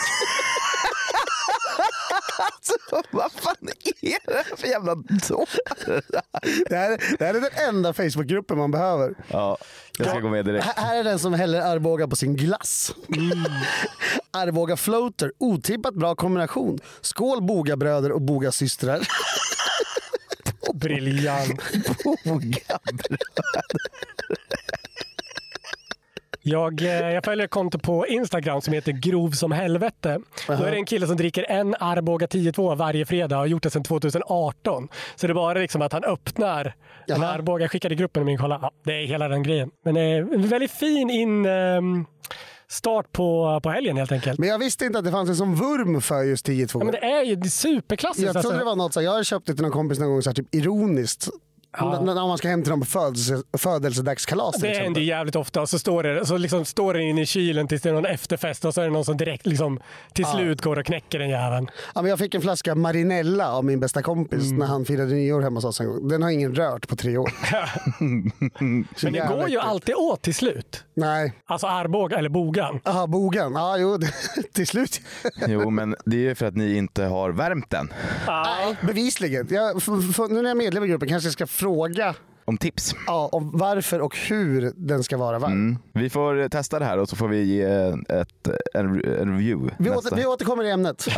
Speaker 6: Vad fan är det här för jävla dårar?
Speaker 3: Det här, det här är den enda Facebookgruppen man behöver.
Speaker 4: Ja, jag ska gå med direkt.
Speaker 3: Här, här är den som häller Arboga på sin glass. Arboga floater, otippat bra kombination. Skål Boga-bröder och Boga-systrar.
Speaker 2: Briljant. Jag, eh, jag följer ett konto på Instagram som heter Grov som helvete. Då är det en kille som dricker en Arboga 10-2 varje fredag och har gjort det sedan 2018. Så det är bara liksom att han öppnar en
Speaker 3: Jaha.
Speaker 2: Arboga. Jag skickade i gruppen och min kolla. Ja, det är hela den grejen. Men det är en väldigt fin in, ehm, start på, på helgen helt enkelt.
Speaker 3: Men jag visste inte att det fanns en sån vurm för just 10
Speaker 2: Ja, men det är ju det är superklassiskt. alltså.
Speaker 3: Jag trodde det var något så här, jag har köpt det till någon kompis någon gång så här, typ ironiskt. N- När man ska hem till någon på födelse, födelsedagskalas till
Speaker 2: Det händer
Speaker 3: exempel.
Speaker 2: ju jävligt ofta. Och så står det, så liksom står det inne i kylen tills det är någon efterfest och så är det någon som direkt liksom, till slut går och knäcker den jäveln.
Speaker 3: Ja, men jag fick en flaska Marinella av min bästa kompis
Speaker 4: Mm.
Speaker 3: när han firade nyår hemma hos oss en gång. Den har ingen rört på tre år.
Speaker 2: Men det
Speaker 3: jävla
Speaker 2: går ju
Speaker 3: äckligt.
Speaker 2: alltid åt till slut.
Speaker 3: Nej.
Speaker 2: Alltså Arboga eller Bogan.
Speaker 3: Aha, bogan. Ja, jo, till slut.
Speaker 4: Jo, men det är ju för att ni inte har värmt den.
Speaker 3: Nej, bevisligen. Jag, f- f- nu när jag är medlem i gruppen kanske jag ska fråga
Speaker 4: Om tips.
Speaker 3: ja, om varför och hur den ska vara varm.
Speaker 4: Vi får eh, testa det här och så får vi ge ett, en, en review.
Speaker 3: Vi,
Speaker 4: nästa.
Speaker 3: åter, vi återkommer i ämnet.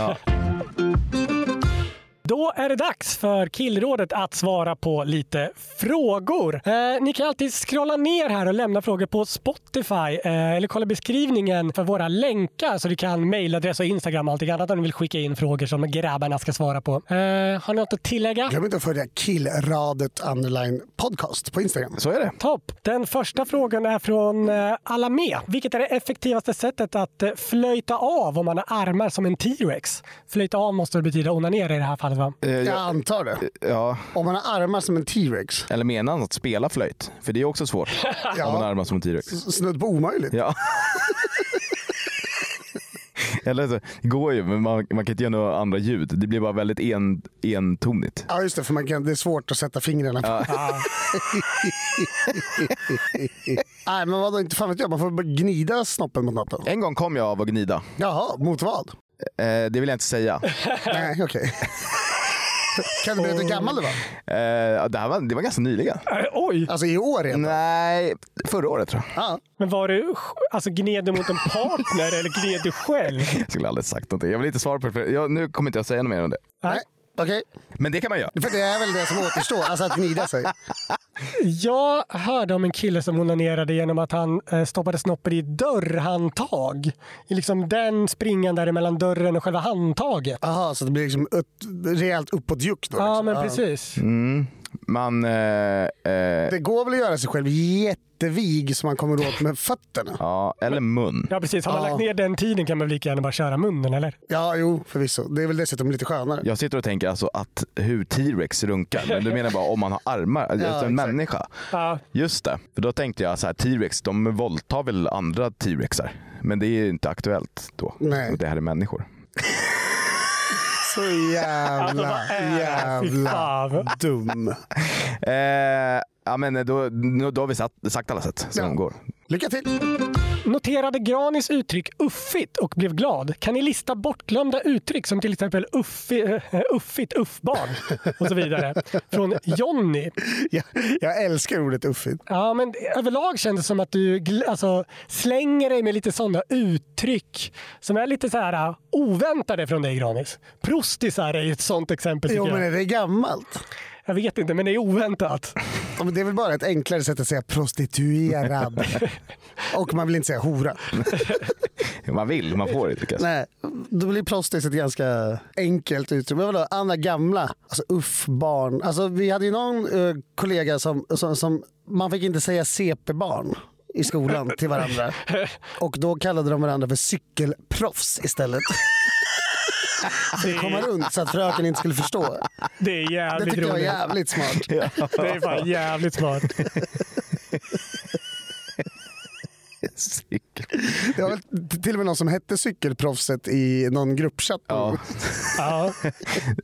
Speaker 2: Då är det dags för Killrådet att svara på lite frågor. Eh, ni kan alltid scrolla ner här och lämna frågor på Spotify eh, eller kolla beskrivningen för våra länkar så du kan mejladress och Instagram och allting annat om ni vill skicka in frågor som grabbarna ska svara på. Eh, har ni något att tillägga?
Speaker 3: Glöm inte att följa killradet underline podcast på Instagram.
Speaker 4: Så är det.
Speaker 2: Topp! Den första frågan är från eh, Alamé. Vilket är det effektivaste sättet att eh, flöjta av om man har armar som en T-rex? Flöjta av måste väl betyda onanera i det här fallet va?
Speaker 4: Eh,
Speaker 3: Jag
Speaker 4: ja. Eh,
Speaker 3: antar det.
Speaker 4: ja,
Speaker 3: Om man har armar som en T-rex,
Speaker 4: eller menar han att spela flöjt? För det är också svårt. Om man
Speaker 3: ja,
Speaker 4: armar som en T-rex.
Speaker 3: snudd på omöjligt.
Speaker 4: Ja. Eller så, det går ju, men man, man kan inte göra några andra ljud. Det blir bara väldigt en, entonigt.
Speaker 3: Ja, just det, för man kan, det är svårt att sätta fingrarna på. Nej, men vadå, inte fan vet jag. Man får bara gnida snoppen mot något då.
Speaker 4: En gång kom jag av att gnida.
Speaker 3: Jaha, mot vad?
Speaker 4: Eh, det vill jag inte säga.
Speaker 3: Nej, okej. Kan du berätta hur gammal du var?
Speaker 4: Eh, det, här var, det var ganska nyligen.
Speaker 2: Eh, oj!
Speaker 3: Alltså i år igen?
Speaker 4: Nej, förra året tror jag.
Speaker 3: Ja.
Speaker 2: Men var du alltså, gned du mot en partner eller gned du själv?
Speaker 4: Jag skulle aldrig sagt någonting. Jag vill inte svara på det. För jag, nu kommer inte jag säga något mer om det.
Speaker 3: Nej, okej.
Speaker 4: Men det kan man göra.
Speaker 3: För det är väl det som återstår, alltså att gnida sig.
Speaker 2: Jag hörde om en kille som onanerade genom att han eh, stoppade snoppen i dörrhandtag. I liksom den springan där mellan dörren och själva handtaget.
Speaker 3: Jaha, så det blir liksom ett rejält uppåtjuck då?
Speaker 2: Ja, Mm.
Speaker 3: liksom.
Speaker 2: men precis.
Speaker 4: Man... Eh, eh,
Speaker 3: Det går väl att göra sig själv jättevig så man kommer åt med fötterna?
Speaker 4: ja, eller mun.
Speaker 2: Ja, precis. Har man
Speaker 3: Ja.
Speaker 2: lagt ner den tiden kan man väl lika gärna bara köra munnen, eller?
Speaker 3: Ja, jo, förvisso. Det är väl dessutom lite skönare.
Speaker 4: Jag sitter och tänker alltså att hur T-Rex runkar. Men du menar bara om man har armar, alltså en
Speaker 3: exakt.
Speaker 4: människa.
Speaker 2: Ja.
Speaker 4: Just det, för då tänkte jag så här, T-Rex, de våldtar väl andra T-Rexar? Men det är ju inte aktuellt då.
Speaker 3: Nej.
Speaker 4: Och det här är människor.
Speaker 3: Så jävla, jävla
Speaker 2: Fan.
Speaker 3: dum.
Speaker 4: Eh, ja, men då, nu- då har vi sagt, sagt alla sätt som
Speaker 3: Ja.
Speaker 4: går.
Speaker 3: Lycka till!
Speaker 2: Noterade Granis uttryck uffigt och blev glad. Kan ni lista bortglömda uttryck som till exempel uffi, eh, uffigt, uffbarn och så vidare? Från Jonny.
Speaker 3: Jag, jag älskar ordet uffigt.
Speaker 2: Ja, men överlag känns det som att du gl- alltså, slänger dig med lite sådana uttryck som är lite så här uh, oväntade från dig Granis. Prostisar är ju ett sånt exempel tycker
Speaker 3: Jo, men
Speaker 2: jag.
Speaker 3: är det gammalt?
Speaker 2: Jag vet inte, men det är oväntat.
Speaker 3: Ja, men Det är väl bara ett enklare sätt att säga prostituerad. Och man vill inte säga hora.
Speaker 4: Man vill, man får inte. kanske.
Speaker 3: Nej, då blir prostis ett ganska enkelt uttryck. Men vadå, andra gamla, alltså uff, barn. Alltså, vi hade ju någon eh, kollega som, som, som, man fick inte säga CP-barn i skolan till varandra. Och då kallade de varandra för cykelproffs istället. För att komma runt så att fröken inte skulle förstå.
Speaker 2: Det är
Speaker 3: Det
Speaker 2: jävligt
Speaker 3: tyckte jag var
Speaker 2: roligt.
Speaker 3: jävligt smart.
Speaker 2: Det är fan jävligt smart.
Speaker 4: Cykel.
Speaker 3: Det var väl t- till och med någon som hette cykelproffset i någon gruppchatt.
Speaker 4: Ja.
Speaker 2: Ja.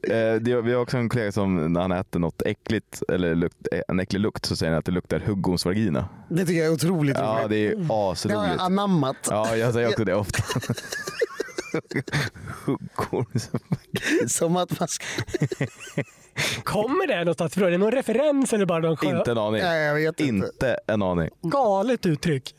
Speaker 4: Eh, det, vi har också en kollega som när han äter något äckligt, eller lukt, eh, en äcklig lukt, så säger han att det luktar huggons vagina.
Speaker 3: Det tycker jag är otroligt
Speaker 4: Ja,
Speaker 3: roligt.
Speaker 4: det är
Speaker 3: Det har jag
Speaker 4: asroligt.
Speaker 3: Mm. anammat.
Speaker 4: Ja, jag säger också det ofta. Huggorms.
Speaker 3: Som att man ska...
Speaker 2: Kommer det någonstans ifrån? Är det någon referens eller bara någon skön...
Speaker 4: Inte en aning.
Speaker 3: Nej, jag vet inte.
Speaker 4: Inte en aning.
Speaker 2: Galet uttryck.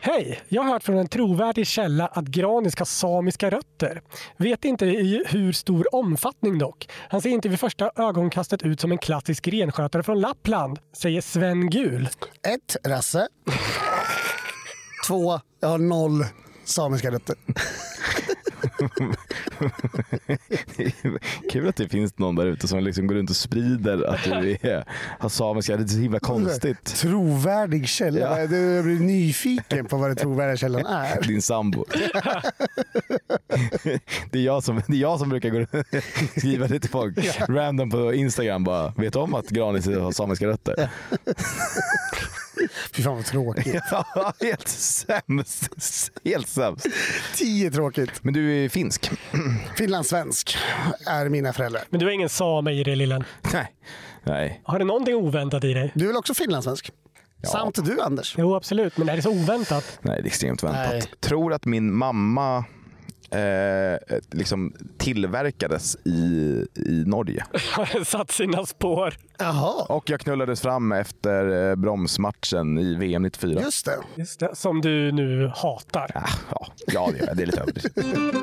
Speaker 2: Hej! Jag har hört från en trovärdig källa att Granis har samiska rötter. Vet inte i hur stor omfattning dock. Han ser inte vid första ögonkastet ut som en klassisk renskötare från Lappland, säger Sven Gul.
Speaker 3: Ett, Rasse. Två, jag har noll samiska rötter.
Speaker 4: Kul att det finns någon där ute som liksom går runt och sprider att du är, har samiska. Det är så himla konstigt.
Speaker 3: Trovärdig källa.
Speaker 4: Ja.
Speaker 3: Jag blir nyfiken på vad den trovärdiga källan är.
Speaker 4: Din sambo. Det är jag som, det är jag som brukar gå runt och skriva det till folk random på Instagram. Bara, vet du om att Granis har samiska rötter?
Speaker 3: Fy fan vad tråkigt.
Speaker 4: Ja, helt sämst. Helt sämst.
Speaker 3: Tio tråkigt.
Speaker 4: Men du är finsk?
Speaker 3: Finlandssvensk är mina föräldrar.
Speaker 2: Men du har ingen same i dig lillen.
Speaker 4: Nej. Nej.
Speaker 2: Har du någonting oväntat i dig?
Speaker 3: Du är väl också finlandssvensk? Samt du Anders.
Speaker 2: Jo, absolut. Men är det så oväntat?
Speaker 4: Nej, det är extremt väntat.
Speaker 3: Nej.
Speaker 4: Tror att min mamma eh, liksom tillverkades i, i Norge.
Speaker 2: Har den satt sina spår?
Speaker 3: Jaha,
Speaker 4: Och jag knullades fram efter eh, bromsmatchen i VM 94.
Speaker 3: just det.
Speaker 2: Just det. Som du nu hatar.
Speaker 4: Ah, ja, ja, det gör jag. Det är lite överdrivet.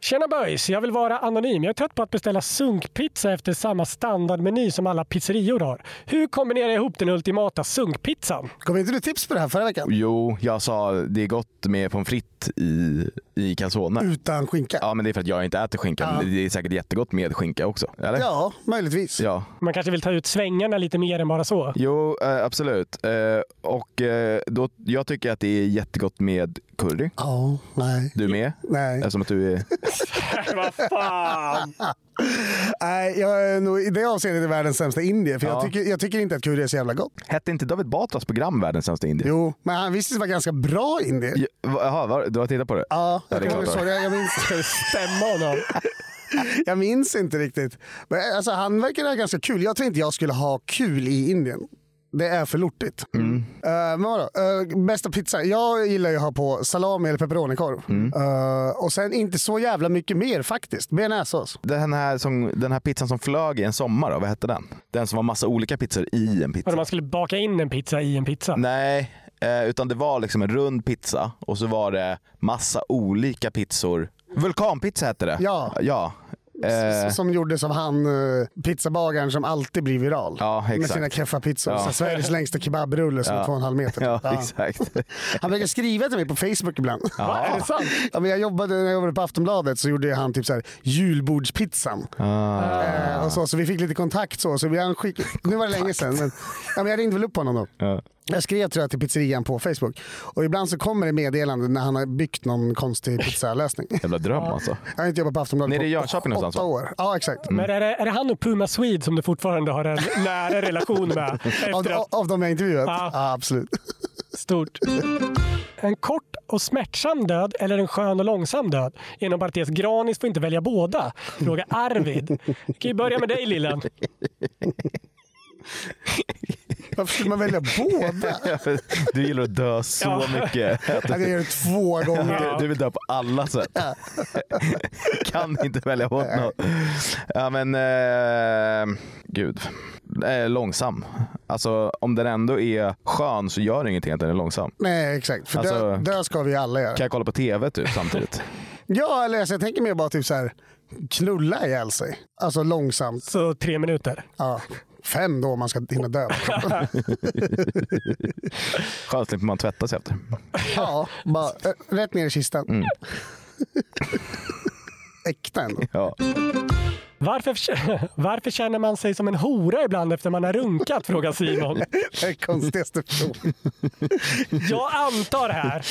Speaker 2: Tjena böjs, jag vill vara anonym. Jag är trött på att beställa sunkpizza efter samma standardmeny som alla pizzerior har. Hur kombinerar jag ihop den ultimata sunkpizzan?
Speaker 3: Kom inte du tips på det här förra veckan?
Speaker 4: Jo, jag sa det är gott med pommes frites i, i calzone.
Speaker 3: Utan skinka?
Speaker 4: Ja, men det är för att jag inte äter skinka. Men det är säkert jättegott med skinka också. Eller?
Speaker 3: Ja, möjligtvis.
Speaker 4: ja.
Speaker 2: Man kanske vill ta ut svängarna lite mer än bara så.
Speaker 4: Jo, eh, absolut. Eh, och eh, då, jag tycker att det är jättegott med curry.
Speaker 3: Ja, nej.
Speaker 4: Du med?
Speaker 3: Nej.
Speaker 4: Eftersom att du är...
Speaker 2: Vad fan!
Speaker 3: nej, jag är nog i det avseendet är världens sämsta indier. För
Speaker 4: Ja.
Speaker 3: jag, tycker, jag tycker inte att curry är så jävla gott.
Speaker 4: Hette inte David Batras program Världens sämsta indier?
Speaker 3: Jo, men han visste var ganska bra indier.
Speaker 4: Ja, va- Jaha, var- du har tittat på det?
Speaker 3: Ja,
Speaker 4: Ja,
Speaker 3: jag,
Speaker 4: det är
Speaker 3: kommer-
Speaker 4: klart.
Speaker 3: sorry, jag, minns,
Speaker 2: Ska du stämma honom?
Speaker 3: jag minns inte riktigt. Men alltså, han verkar ha ganska kul. Jag tror inte jag skulle ha kul i Indien. Det är för lortigt.
Speaker 4: Mm.
Speaker 3: Eh, men vadå? Eh, bästa pizza? Jag gillar ju att ha på salami eller pepperonikorv.
Speaker 4: Mm.
Speaker 3: Eh, och sen inte så jävla mycket mer faktiskt. Bearnaisesås.
Speaker 4: Den här, som, den här pizzan som flög i en sommar, då, vad hette den? Den som var massa olika pizzor i en pizza.
Speaker 2: Vadå, man skulle baka in en pizza i en pizza?
Speaker 4: Nej, eh, utan det var liksom en rund pizza och så var det massa olika pizzor. Vulkanpizza hette det.
Speaker 3: Ja.
Speaker 4: ja.
Speaker 3: S-
Speaker 4: Eh,
Speaker 3: Som gjordes av han eh, pizzabagaren som alltid blir viral.
Speaker 4: Ja,
Speaker 3: Med
Speaker 4: exakt.
Speaker 3: sina keffapizzor.
Speaker 4: Ja.
Speaker 3: Så här, Sveriges längsta kebabrulle som är två och en halv meter.
Speaker 4: ja,
Speaker 3: Ja.
Speaker 4: exakt.
Speaker 3: Han brukar skriva till mig på Facebook ibland.
Speaker 2: Va, är det sant?
Speaker 3: Ja, men jag jobbade, när jag jobbade på Aftonbladet så gjorde han typ så här, julbordspizzan.
Speaker 4: Ah.
Speaker 3: Eh, och så, så vi fick lite kontakt. så, så vi han skick... Nu var det länge sedan, men, ja, men jag ringde väl upp honom då. Jag skrev tror jag till pizzerian på Facebook. Och ibland så kommer det meddelanden när han har byggt någon konstig pizzalösning.
Speaker 4: Jävla dröm alltså.
Speaker 3: Jag har inte jobbat på Aftonbladet
Speaker 4: Nere i
Speaker 3: på
Speaker 4: Jönköping
Speaker 3: åt- åtta
Speaker 4: någonstans, Mm.
Speaker 3: år. Ja, exakt.
Speaker 2: Men är det, är det han och Puma Swede som du fortfarande har en nära relation med?
Speaker 3: Av,
Speaker 2: Efter
Speaker 3: av,
Speaker 2: att,
Speaker 3: av de jag intervjuat?
Speaker 2: Ja.
Speaker 3: Ja. absolut.
Speaker 2: stort. En kort och smärtsam död eller en skön och långsam död? Inom parentes, Granis får inte välja båda. Fråga Arvid. Vi kan ju börja med dig Lillen.
Speaker 3: Varför skulle man välja båda?
Speaker 4: Du gillar att dö så
Speaker 2: Ja.
Speaker 4: mycket. Att
Speaker 3: Att jag gör det två gånger.
Speaker 4: Du, du vill dö på alla sätt. kan inte välja bort något. Ja, men, eh, gud. Eh, långsam. Alltså, om den ändå är skön så gör det ingenting att den är långsam.
Speaker 3: Nej, exakt. För
Speaker 4: Alltså-
Speaker 3: dö, dö ska vi alla göra.
Speaker 4: Kan jag kolla på TV typ, samtidigt?
Speaker 3: Ja, eller alltså, jag tänker mer bara typ så här knulla ihjäl sig. Alltså långsamt.
Speaker 2: Så tre minuter.
Speaker 3: Ja. Fem då om man ska hinna dö.
Speaker 4: Skönt slipper man tvätta sig efter.
Speaker 3: Ja, bara eh, rätt ner i kistan. Äkta ändå.
Speaker 4: Ja.
Speaker 2: Varför, varför känner man sig som en hora ibland efter man har runkat? Frågar Simon.
Speaker 3: Det är konstigaste frågan.
Speaker 2: Jag antar här.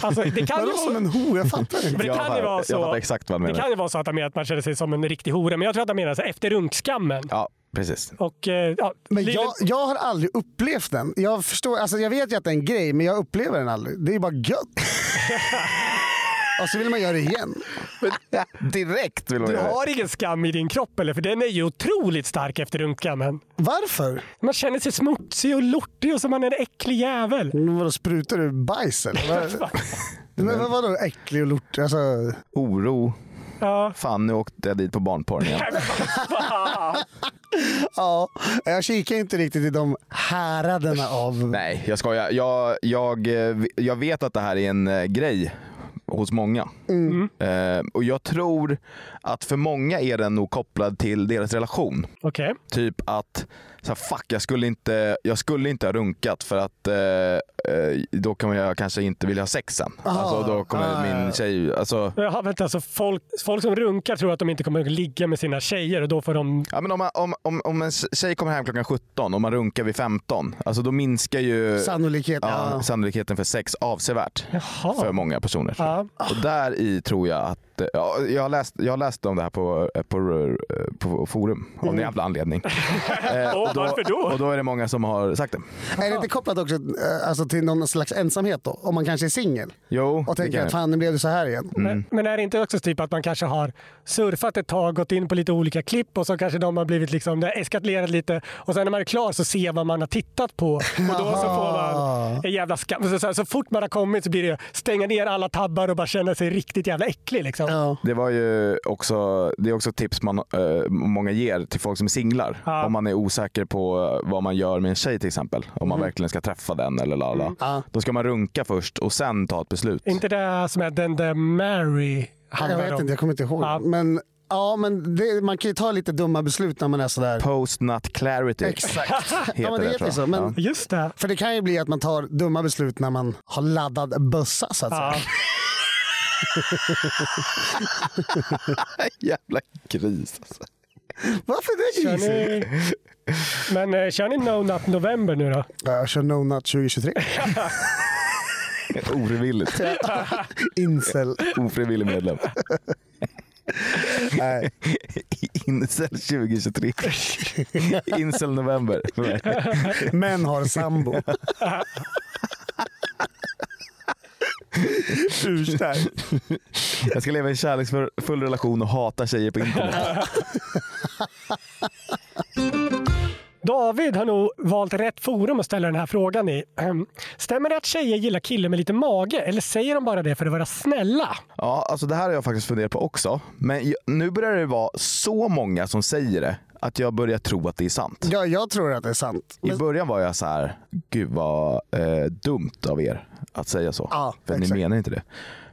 Speaker 2: Alltså, det kan ju
Speaker 3: Vadå som
Speaker 2: vara...
Speaker 3: en hora? Jag fattar
Speaker 2: Men
Speaker 3: inte.
Speaker 2: det
Speaker 4: Jag
Speaker 2: kan ju
Speaker 4: fattar-
Speaker 2: vara
Speaker 4: jag
Speaker 2: så.
Speaker 4: fattar exakt vad han
Speaker 2: det
Speaker 4: menar.
Speaker 2: kan ju vara så att han menar att man känner sig som en riktig hora, men jag tror att han menar så här, efter runkskammen.
Speaker 4: Ja, Precis.
Speaker 2: Och, eh, ja,
Speaker 3: Men
Speaker 2: livet-
Speaker 3: jag, jag har aldrig upplevt den. Jag, förstår, alltså jag vet ju att det är en grej, men jag upplever den aldrig. Det är bara gött. Och så vill man göra det igen.
Speaker 4: Direkt vill man
Speaker 2: Du
Speaker 4: göra det.
Speaker 2: har ingen skam i din kropp eller? För den är ju otroligt stark efter röntgen.
Speaker 3: Varför?
Speaker 2: Man känner sig smutsig och lortig och som man är en äcklig jävel.
Speaker 3: Men Vadå, sprutar du bajs eller? Vad- Men vad- vadå äcklig och lortig? Alltså,
Speaker 4: Oro.
Speaker 2: Ja.
Speaker 4: Fan, nu åkte jag dit på barnporren igen.
Speaker 3: ja, jag kikar inte riktigt i de häraderna av...
Speaker 4: Nej, jag skojar. Jag, jag, eh, jag vet att det här är en eh, grej hos många.
Speaker 3: Mm.
Speaker 4: Eh, och jag tror att för många är den nog kopplad till deras relation.
Speaker 2: Okej.
Speaker 4: Typ att, så här, fuck, jag skulle, inte, jag skulle inte ha runkat för att eh, eh, då kommer jag kanske inte vilja ha sex sen. alltså, då kommer
Speaker 3: ah, ja.
Speaker 4: min tjej... Alltså,
Speaker 2: Jaha, Eh, vänta. Så folk, folk som runkar tror att de inte kommer att ligga med sina tjejer och då får de...
Speaker 4: ja, men om, man- om, om, om en tjej kommer hem klockan 17 och man runkar vid 15, alltså, då minskar ju
Speaker 3: Sannolikhet.
Speaker 4: ja,
Speaker 3: Ja.
Speaker 4: sannolikheten för sex avsevärt
Speaker 2: Jaha.
Speaker 4: för många personer.
Speaker 3: Ah.
Speaker 2: Ja.
Speaker 4: Och där i tror jag att... Ja, jag, har läst, jag har läst om det här på, på, på forum av
Speaker 3: Mm.
Speaker 4: en jävla anledning. Eh,
Speaker 2: Och varför då?
Speaker 4: Och då är det många som har sagt det.
Speaker 3: Är det inte kopplat också eh, alltså, till någon slags ensamhet då? Om man kanske är singel
Speaker 4: Jo,
Speaker 3: och
Speaker 4: Oh, det
Speaker 3: tänker
Speaker 4: kan
Speaker 3: att
Speaker 4: jag. Mm.
Speaker 3: fan, nu blev det så här igen.
Speaker 2: Men, men är det inte också typ att man kanske har surfat ett tag, gått in på lite olika klipp och så kanske de har blivit liksom, det har eskalerat lite och sen när man är klar så ser man vad man har tittat på och då så får man en jävla skam. Så, så, så fort man har kommit så blir det stänga ner alla tabbar och bara känna sig riktigt jävla äcklig liksom.
Speaker 3: Ja.
Speaker 4: Det, var ju också, det är också tips man, eh, många ger till folk som är singlar.
Speaker 2: Ja.
Speaker 4: Om man är osäker på eh, vad man gör med en tjej till exempel. Om
Speaker 3: Mm.
Speaker 4: man verkligen ska träffa den eller lala. Då ska man runka först och sen ta ett beslut.
Speaker 2: Inte det som är den där Mary
Speaker 3: Jag
Speaker 2: handlar
Speaker 3: vet
Speaker 2: om.
Speaker 3: inte, jag kommer inte ihåg.
Speaker 2: Ja.
Speaker 3: Men, ja, men det, man kan ju ta lite dumma beslut när man är sådär.
Speaker 4: Post not clarity
Speaker 3: Exakt.
Speaker 4: heter
Speaker 3: ja, men det
Speaker 4: det,
Speaker 3: heter
Speaker 4: tror
Speaker 3: ju
Speaker 4: jag.
Speaker 3: så. Men,
Speaker 2: Just det.
Speaker 3: För det kan ju bli att man tar dumma beslut när man har laddad bössa så att säga.
Speaker 2: Ja.
Speaker 4: Ja. Jävla gris alltså.
Speaker 3: Varför det?
Speaker 2: Kör ni... Men eh, kör ni No Nut November nu då?
Speaker 3: Ja, Jag kör No Nut 2023.
Speaker 4: Ofrivilligt.
Speaker 3: Incel.
Speaker 4: Ofrivillig medlem.
Speaker 3: Nej.
Speaker 4: Incel 2023. Incel november. för mig.
Speaker 3: Män har sambo. Urstark.
Speaker 4: Jag ska leva i en kärleksfull relation och hata tjejer på internet.
Speaker 2: David har nog valt rätt forum att ställa den här frågan i. Ehm, Stämmer det att tjejer gillar killar med lite mage eller säger de bara det för att vara snälla?
Speaker 4: Ja, alltså det här har jag faktiskt funderat på också. Men jag- nu börjar det vara så många som säger det att jag börjar tro att det är sant.
Speaker 3: Ja, jag tror att det är sant.
Speaker 4: I början var jag så här, gud vad eh, dumt av er att säga så.
Speaker 3: Ja,
Speaker 4: För ni
Speaker 3: exakt.
Speaker 4: menar inte det.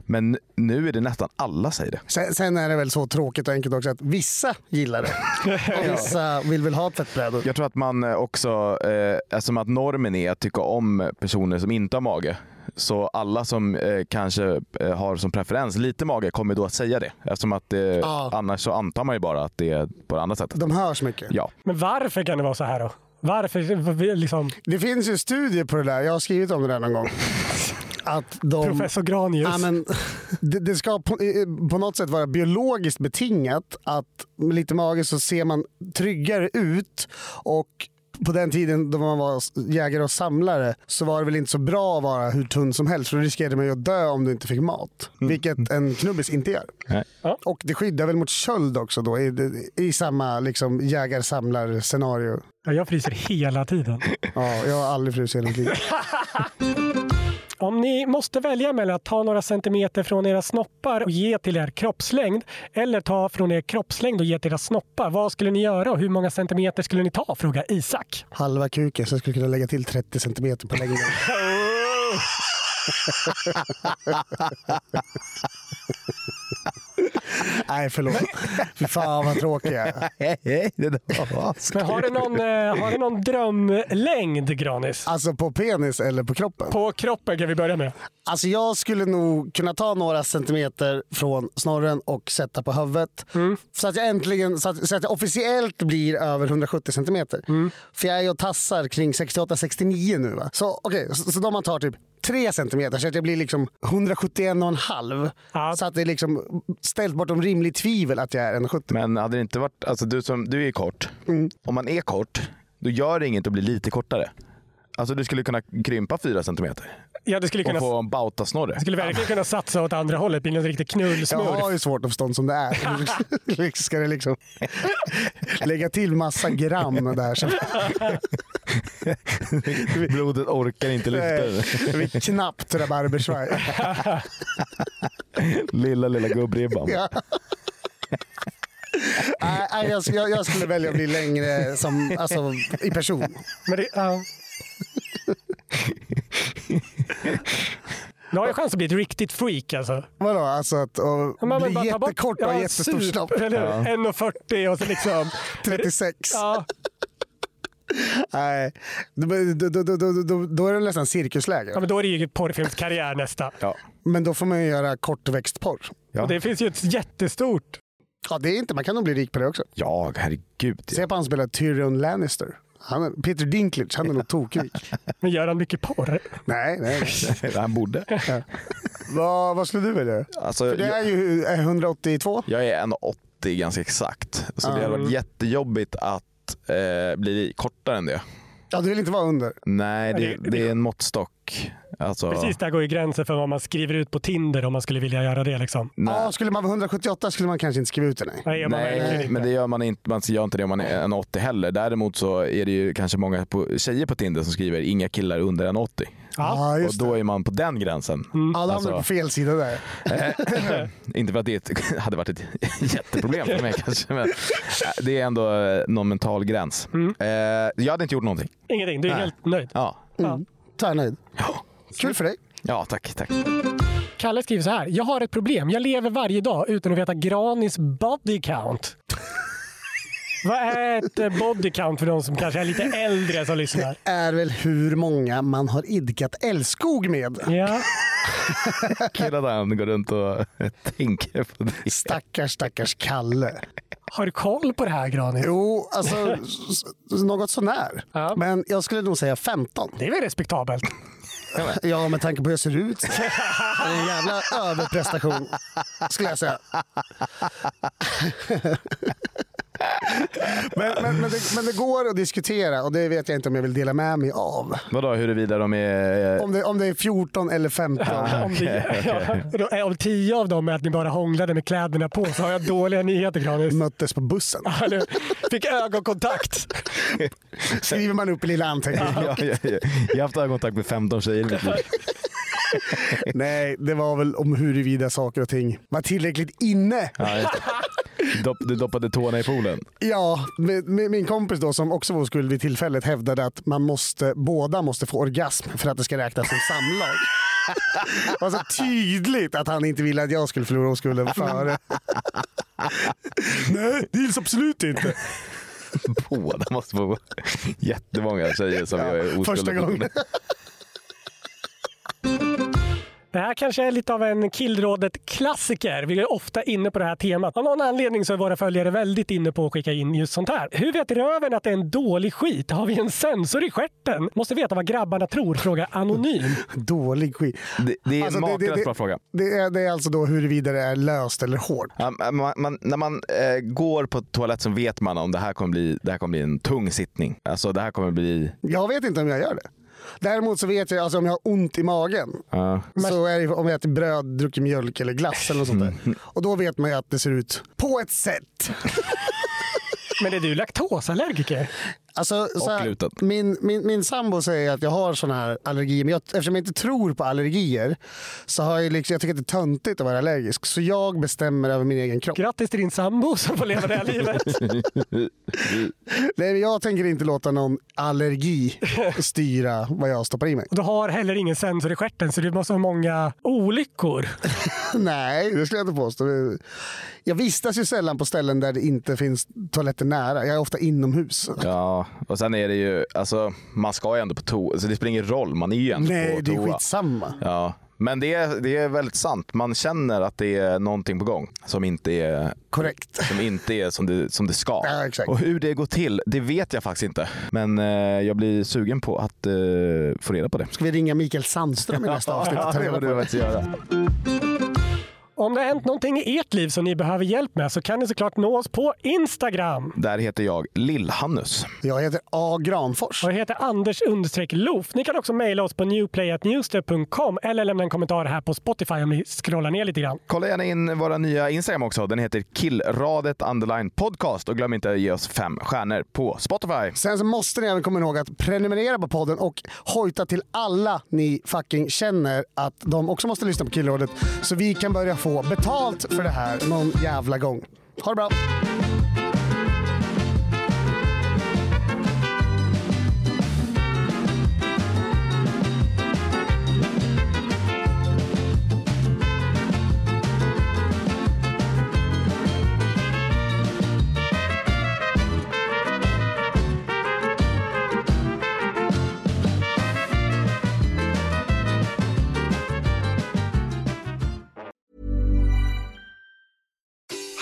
Speaker 4: Men nu är det nästan alla säger det.
Speaker 3: Sen, sen är det väl så tråkigt och enkelt också att vissa gillar det. Och vissa vill väl ha tvättbrädor.
Speaker 4: Jag tror att man eh, också, eh, eftersom att normen är att tycka om personer som inte har mage, så alla som eh, kanske eh, har som preferens lite mage kommer då att säga det. Eftersom att eh,
Speaker 3: Ja.
Speaker 4: annars så antar man ju bara att det är på det andra sättet.
Speaker 3: De hörs mycket.
Speaker 4: Ja.
Speaker 2: Men varför kan det vara så här då? Varför? varför Liksom,
Speaker 3: Det finns ju studier på det där. Jag har skrivit om det där någon gång. Att de,
Speaker 2: professor Granius.
Speaker 3: Ja, men, det, det ska på, eh, på något sätt vara biologiskt betingat att med lite mage så ser man tryggare ut och på den tiden då man var s- jägare och samlare så var det väl inte så bra att vara hur tunn som helst för då riskerade man ju att dö om du inte fick mat. Vilket en knubbis inte gör.
Speaker 4: Nej.
Speaker 2: Ja.
Speaker 3: Och det skyddar väl mot köld också då i, i samma liksom, jägar-samlar-scenario.
Speaker 2: Ja, Jag fryser hela tiden.
Speaker 3: Ja, jag har aldrig frusit i hela mitt liv.
Speaker 2: Om ni måste välja mellan att ta några centimeter från era snoppar och ge till er kroppslängd eller ta från er kroppslängd och ge till era snoppar, vad skulle ni göra och hur många centimeter skulle ni ta? Frågar Isak.
Speaker 3: Halva kuken så jag skulle kunna lägga till 30 centimeter på längden. Nej, förlåt. Fy fan vad tråkig jag är.
Speaker 4: det där var
Speaker 2: Men har du någon, eh, har du någon drömlängd, Granis?
Speaker 3: Alltså på penis eller på kroppen?
Speaker 2: På kroppen kan vi börja med.
Speaker 3: Alltså jag skulle nog kunna ta några centimeter från snorren och sätta på huvudet. Så att jag äntligen, så att, så att jag officiellt blir över 170 centimeter. För jag är ju och tassar kring 68-69 nu va. Så okej, så, så då man tar typ 3 centimeter så att jag blir liksom 171,5.
Speaker 2: Ja.
Speaker 3: Så att det är liksom ställt bortom rimligt tvivel att jag är 1,70.
Speaker 4: Men hade det inte varit, alltså du, som, du är ju kort. Om man är kort, då gör det inget att bli lite kortare. Alltså du skulle kunna krympa fyra centimeter
Speaker 2: Ja, du skulle
Speaker 4: och
Speaker 2: kunna...
Speaker 4: få en bautasnorre.
Speaker 2: Skulle verkligen kunna satsa åt andra hållet, bli någon riktig
Speaker 3: Jag har
Speaker 2: knullsmurf.
Speaker 3: ju svårt att förstå som det är. Ska det liksom lägga till massa gram där? Så
Speaker 4: Blodet orkar inte lyfta det.
Speaker 3: det blir knappt rabarbersvaj.
Speaker 4: Lilla, lilla gubbribban.
Speaker 3: Ja. Nej, nej, jag, jag, jag skulle välja att bli längre som, alltså, i person.
Speaker 2: Men det, ja. Nu har jag chans att bli ett riktigt freak alltså.
Speaker 3: Vadå? Alltså att och
Speaker 2: Ja, men
Speaker 3: bli
Speaker 2: bara ta bort-
Speaker 3: jättekort och
Speaker 2: ja,
Speaker 3: ha jättestor
Speaker 2: sup,
Speaker 3: snopp.
Speaker 2: eller hur? 1,40 och så liksom...
Speaker 3: 36.
Speaker 2: Ja,
Speaker 3: Nej, då, då, då, då, då- då, då är det nästan cirkusläge.
Speaker 2: ja, men då är det ju porrfilmskarriär nästa.
Speaker 4: Ja.
Speaker 3: Men då får man ju göra kortväxtporr.
Speaker 2: Och det finns ju ett jättestort...
Speaker 3: Ja, det är inte, man kan nog bli rik på det också.
Speaker 4: ja, herregud.
Speaker 3: Se på han som spelar Tyrion Lannister. Han är, Peter Dinklage, han är nog tokrik.
Speaker 2: Men gör han mycket porr?
Speaker 3: nej, nej. nej.
Speaker 4: Han borde.
Speaker 3: Vad, vad skulle du välja?
Speaker 4: Alltså,
Speaker 3: För det
Speaker 4: jag,
Speaker 3: är ju eh, 182.
Speaker 4: jag är 1,80 ganska exakt. Så det hade varit jättejobbigt att eh, bli kortare än det.
Speaker 3: Ja, du vill inte vara under.
Speaker 4: Nej, det,
Speaker 2: Nej, det-
Speaker 4: det är en måttstock. Alltså,
Speaker 2: Precis, där går ju gränsen för vad man skriver ut på Tinder om man skulle vilja göra det. Liksom.
Speaker 3: Ja, skulle man vara 178 skulle man kanske inte skriva ut det. Nej.
Speaker 2: Nej, är man verkligen
Speaker 4: Nej,
Speaker 2: inte.
Speaker 4: men det gör man inte. Man gör inte det om man är en 80 heller. Däremot så är det ju kanske många på, tjejer på Tinder som skriver inga killar under en 80.
Speaker 2: Ja.
Speaker 3: Ja,
Speaker 4: Och
Speaker 3: just det.
Speaker 4: då är man på den gränsen.
Speaker 3: Ja, då hamnar du på
Speaker 4: alltså-
Speaker 3: fel sida där.
Speaker 4: Eh, Inte för att det ett- hade varit ett jätteproblem för mig kanske, men eh, det är ändå eh, någon mental gräns. Eh, jag hade inte gjort någonting.
Speaker 2: Ingenting, du är helt nöjd.
Speaker 4: Ja,
Speaker 3: Tvärnöjd. Kul för dig.
Speaker 4: ja tack. tack.
Speaker 2: Kalle skriver så här. Jag har ett problem. Jag lever varje dag utan att veta Granis body count. Vad är ett eh, body count för de som kanske är lite äldre som lyssnar?
Speaker 3: Är väl hur många man har idkat älskog med.
Speaker 2: Ja,
Speaker 4: Killar där han går runt och eh, tänker på det.
Speaker 3: Stackars, stackars Kalle.
Speaker 2: har du koll på det här Granis?
Speaker 3: Jo, alltså s- s- något sånär.
Speaker 2: Ja.
Speaker 3: Men jag skulle nog säga 15.
Speaker 2: Det är väl respektabelt?
Speaker 3: Ja, med tanke på hur jag ser ut. Det är en jävla överprestation, skulle jag säga. Men, men, men, det, men det går att diskutera och det vet jag inte om jag vill dela med mig av.
Speaker 4: Vadå, huruvida de är... eh,
Speaker 3: Om det, om det är 14 eller 15.
Speaker 2: Om, det, ja, då- eh, om tio av dem är att ni bara hånglade med kläderna på så har jag dåliga nyheter Granis.
Speaker 3: Möttes på bussen.
Speaker 2: Eller, fick ögonkontakt.
Speaker 3: Skriver man upp i lilla anteckningen.
Speaker 4: Ja, jag, jag, jag har haft ögonkontakt med 15 tjejer i mitt liv.
Speaker 3: Nej, det var väl om huruvida saker och ting var tillräckligt inne.
Speaker 4: Ja, just det. Dopp, du doppade tårna i poolen.
Speaker 3: Ja, med, med min kompis då som också var oskuld vid tillfället hävdade att man måste, båda måste få orgasm för att det ska räknas som samlag. Det var så tydligt att han inte ville att jag skulle förlora oskulden före. Nej, det gills absolut inte.
Speaker 4: Båda måste få jättemånga tjejer som jag är oskuld
Speaker 3: första
Speaker 4: med.
Speaker 3: gången.
Speaker 2: Det här kanske är lite av en Killrådet-klassiker. Vi är ofta inne på det här temat. Av någon anledning så är våra följare väldigt inne på att skicka in just sånt här. Hur vet röven att det är en dålig skit? Har vi en sensor i stjärten? Måste veta vad grabbarna tror, fråga anonym.
Speaker 3: Dålig skit.
Speaker 4: Det, det är en
Speaker 3: Alltså, det- det-
Speaker 4: makalöst
Speaker 3: det-
Speaker 4: bra fråga.
Speaker 3: Det är, det är alltså då huruvida det är löst eller hårt.
Speaker 4: Ja, Man, man, när man eh, går på toaletten vet man om det här kommer bli, det här kommer bli en tung sittning. Alltså det här kommer bli...
Speaker 3: Jag vet inte om jag gör det. Däremot så vet jag alltså om jag har ont i magen. Så är det om jag äter bröd, druckit mjölk eller glass eller något sånt där. Och då vet man ju att det ser ut på ett sätt.
Speaker 2: Men är du laktosallergiker?
Speaker 3: Alltså, så här,
Speaker 4: gluten.
Speaker 3: min, min, min sambo säger att jag har såna här allergier, men jag, eftersom jag inte tror på allergier så har jag, liksom, jag tycker att det är töntigt att vara allergisk. Så jag bestämmer över min egen kropp.
Speaker 2: Grattis till din sambo som får leva det här livet.
Speaker 3: Nej, men jag tänker inte låta någon allergi styra vad jag stoppar i mig.
Speaker 2: Och du har heller ingen sensor i stjärten så du måste ha många olyckor.
Speaker 3: Nej, det skulle jag inte påstå. Jag vistas ju sällan på ställen där det inte finns toaletter nära. Jag är ofta inomhus.
Speaker 4: Ja, och sen är det ju, alltså man ska ju ändå på toa, så det spelar ingen roll, man är ju ändå
Speaker 3: Nej,
Speaker 4: på
Speaker 3: det
Speaker 4: toa.
Speaker 3: är skitsamma.
Speaker 4: Ja, men det är, det är väldigt sant. Man känner att det är någonting på gång som inte är
Speaker 3: Korrekt.
Speaker 4: som inte är som det, som det ska.
Speaker 3: Ja, exakt.
Speaker 4: Och hur det går till, det vet jag faktiskt inte. Men eh, jag blir sugen på att eh, få reda på det.
Speaker 3: Ska vi ringa Mikael Sandström i nästa avsnitt och ta
Speaker 4: det
Speaker 3: reda
Speaker 4: borde
Speaker 3: på det?
Speaker 4: vi faktiskt göra.
Speaker 2: Om det har hänt någonting i ert liv som ni behöver hjälp med så kan ni såklart nå oss på Instagram.
Speaker 4: Där heter jag Lill-Hannus.
Speaker 3: Jag heter A. Granfors.
Speaker 2: Och jag heter Anders understreck Loof. Ni kan också mejla oss på newplayatnewster.com eller lämna en kommentar här på Spotify om ni scrollar ner lite grann.
Speaker 4: Kolla gärna in våra nya Instagram också. Den heter killradet underline podcast och glöm inte att ge oss fem stjärnor på Spotify.
Speaker 3: Sen så måste ni även komma ihåg att prenumerera på podden och hojta till alla ni fucking känner att de också måste lyssna på Killrådet så vi kan börja få betalt för det här någon jävla gång. Ha det bra!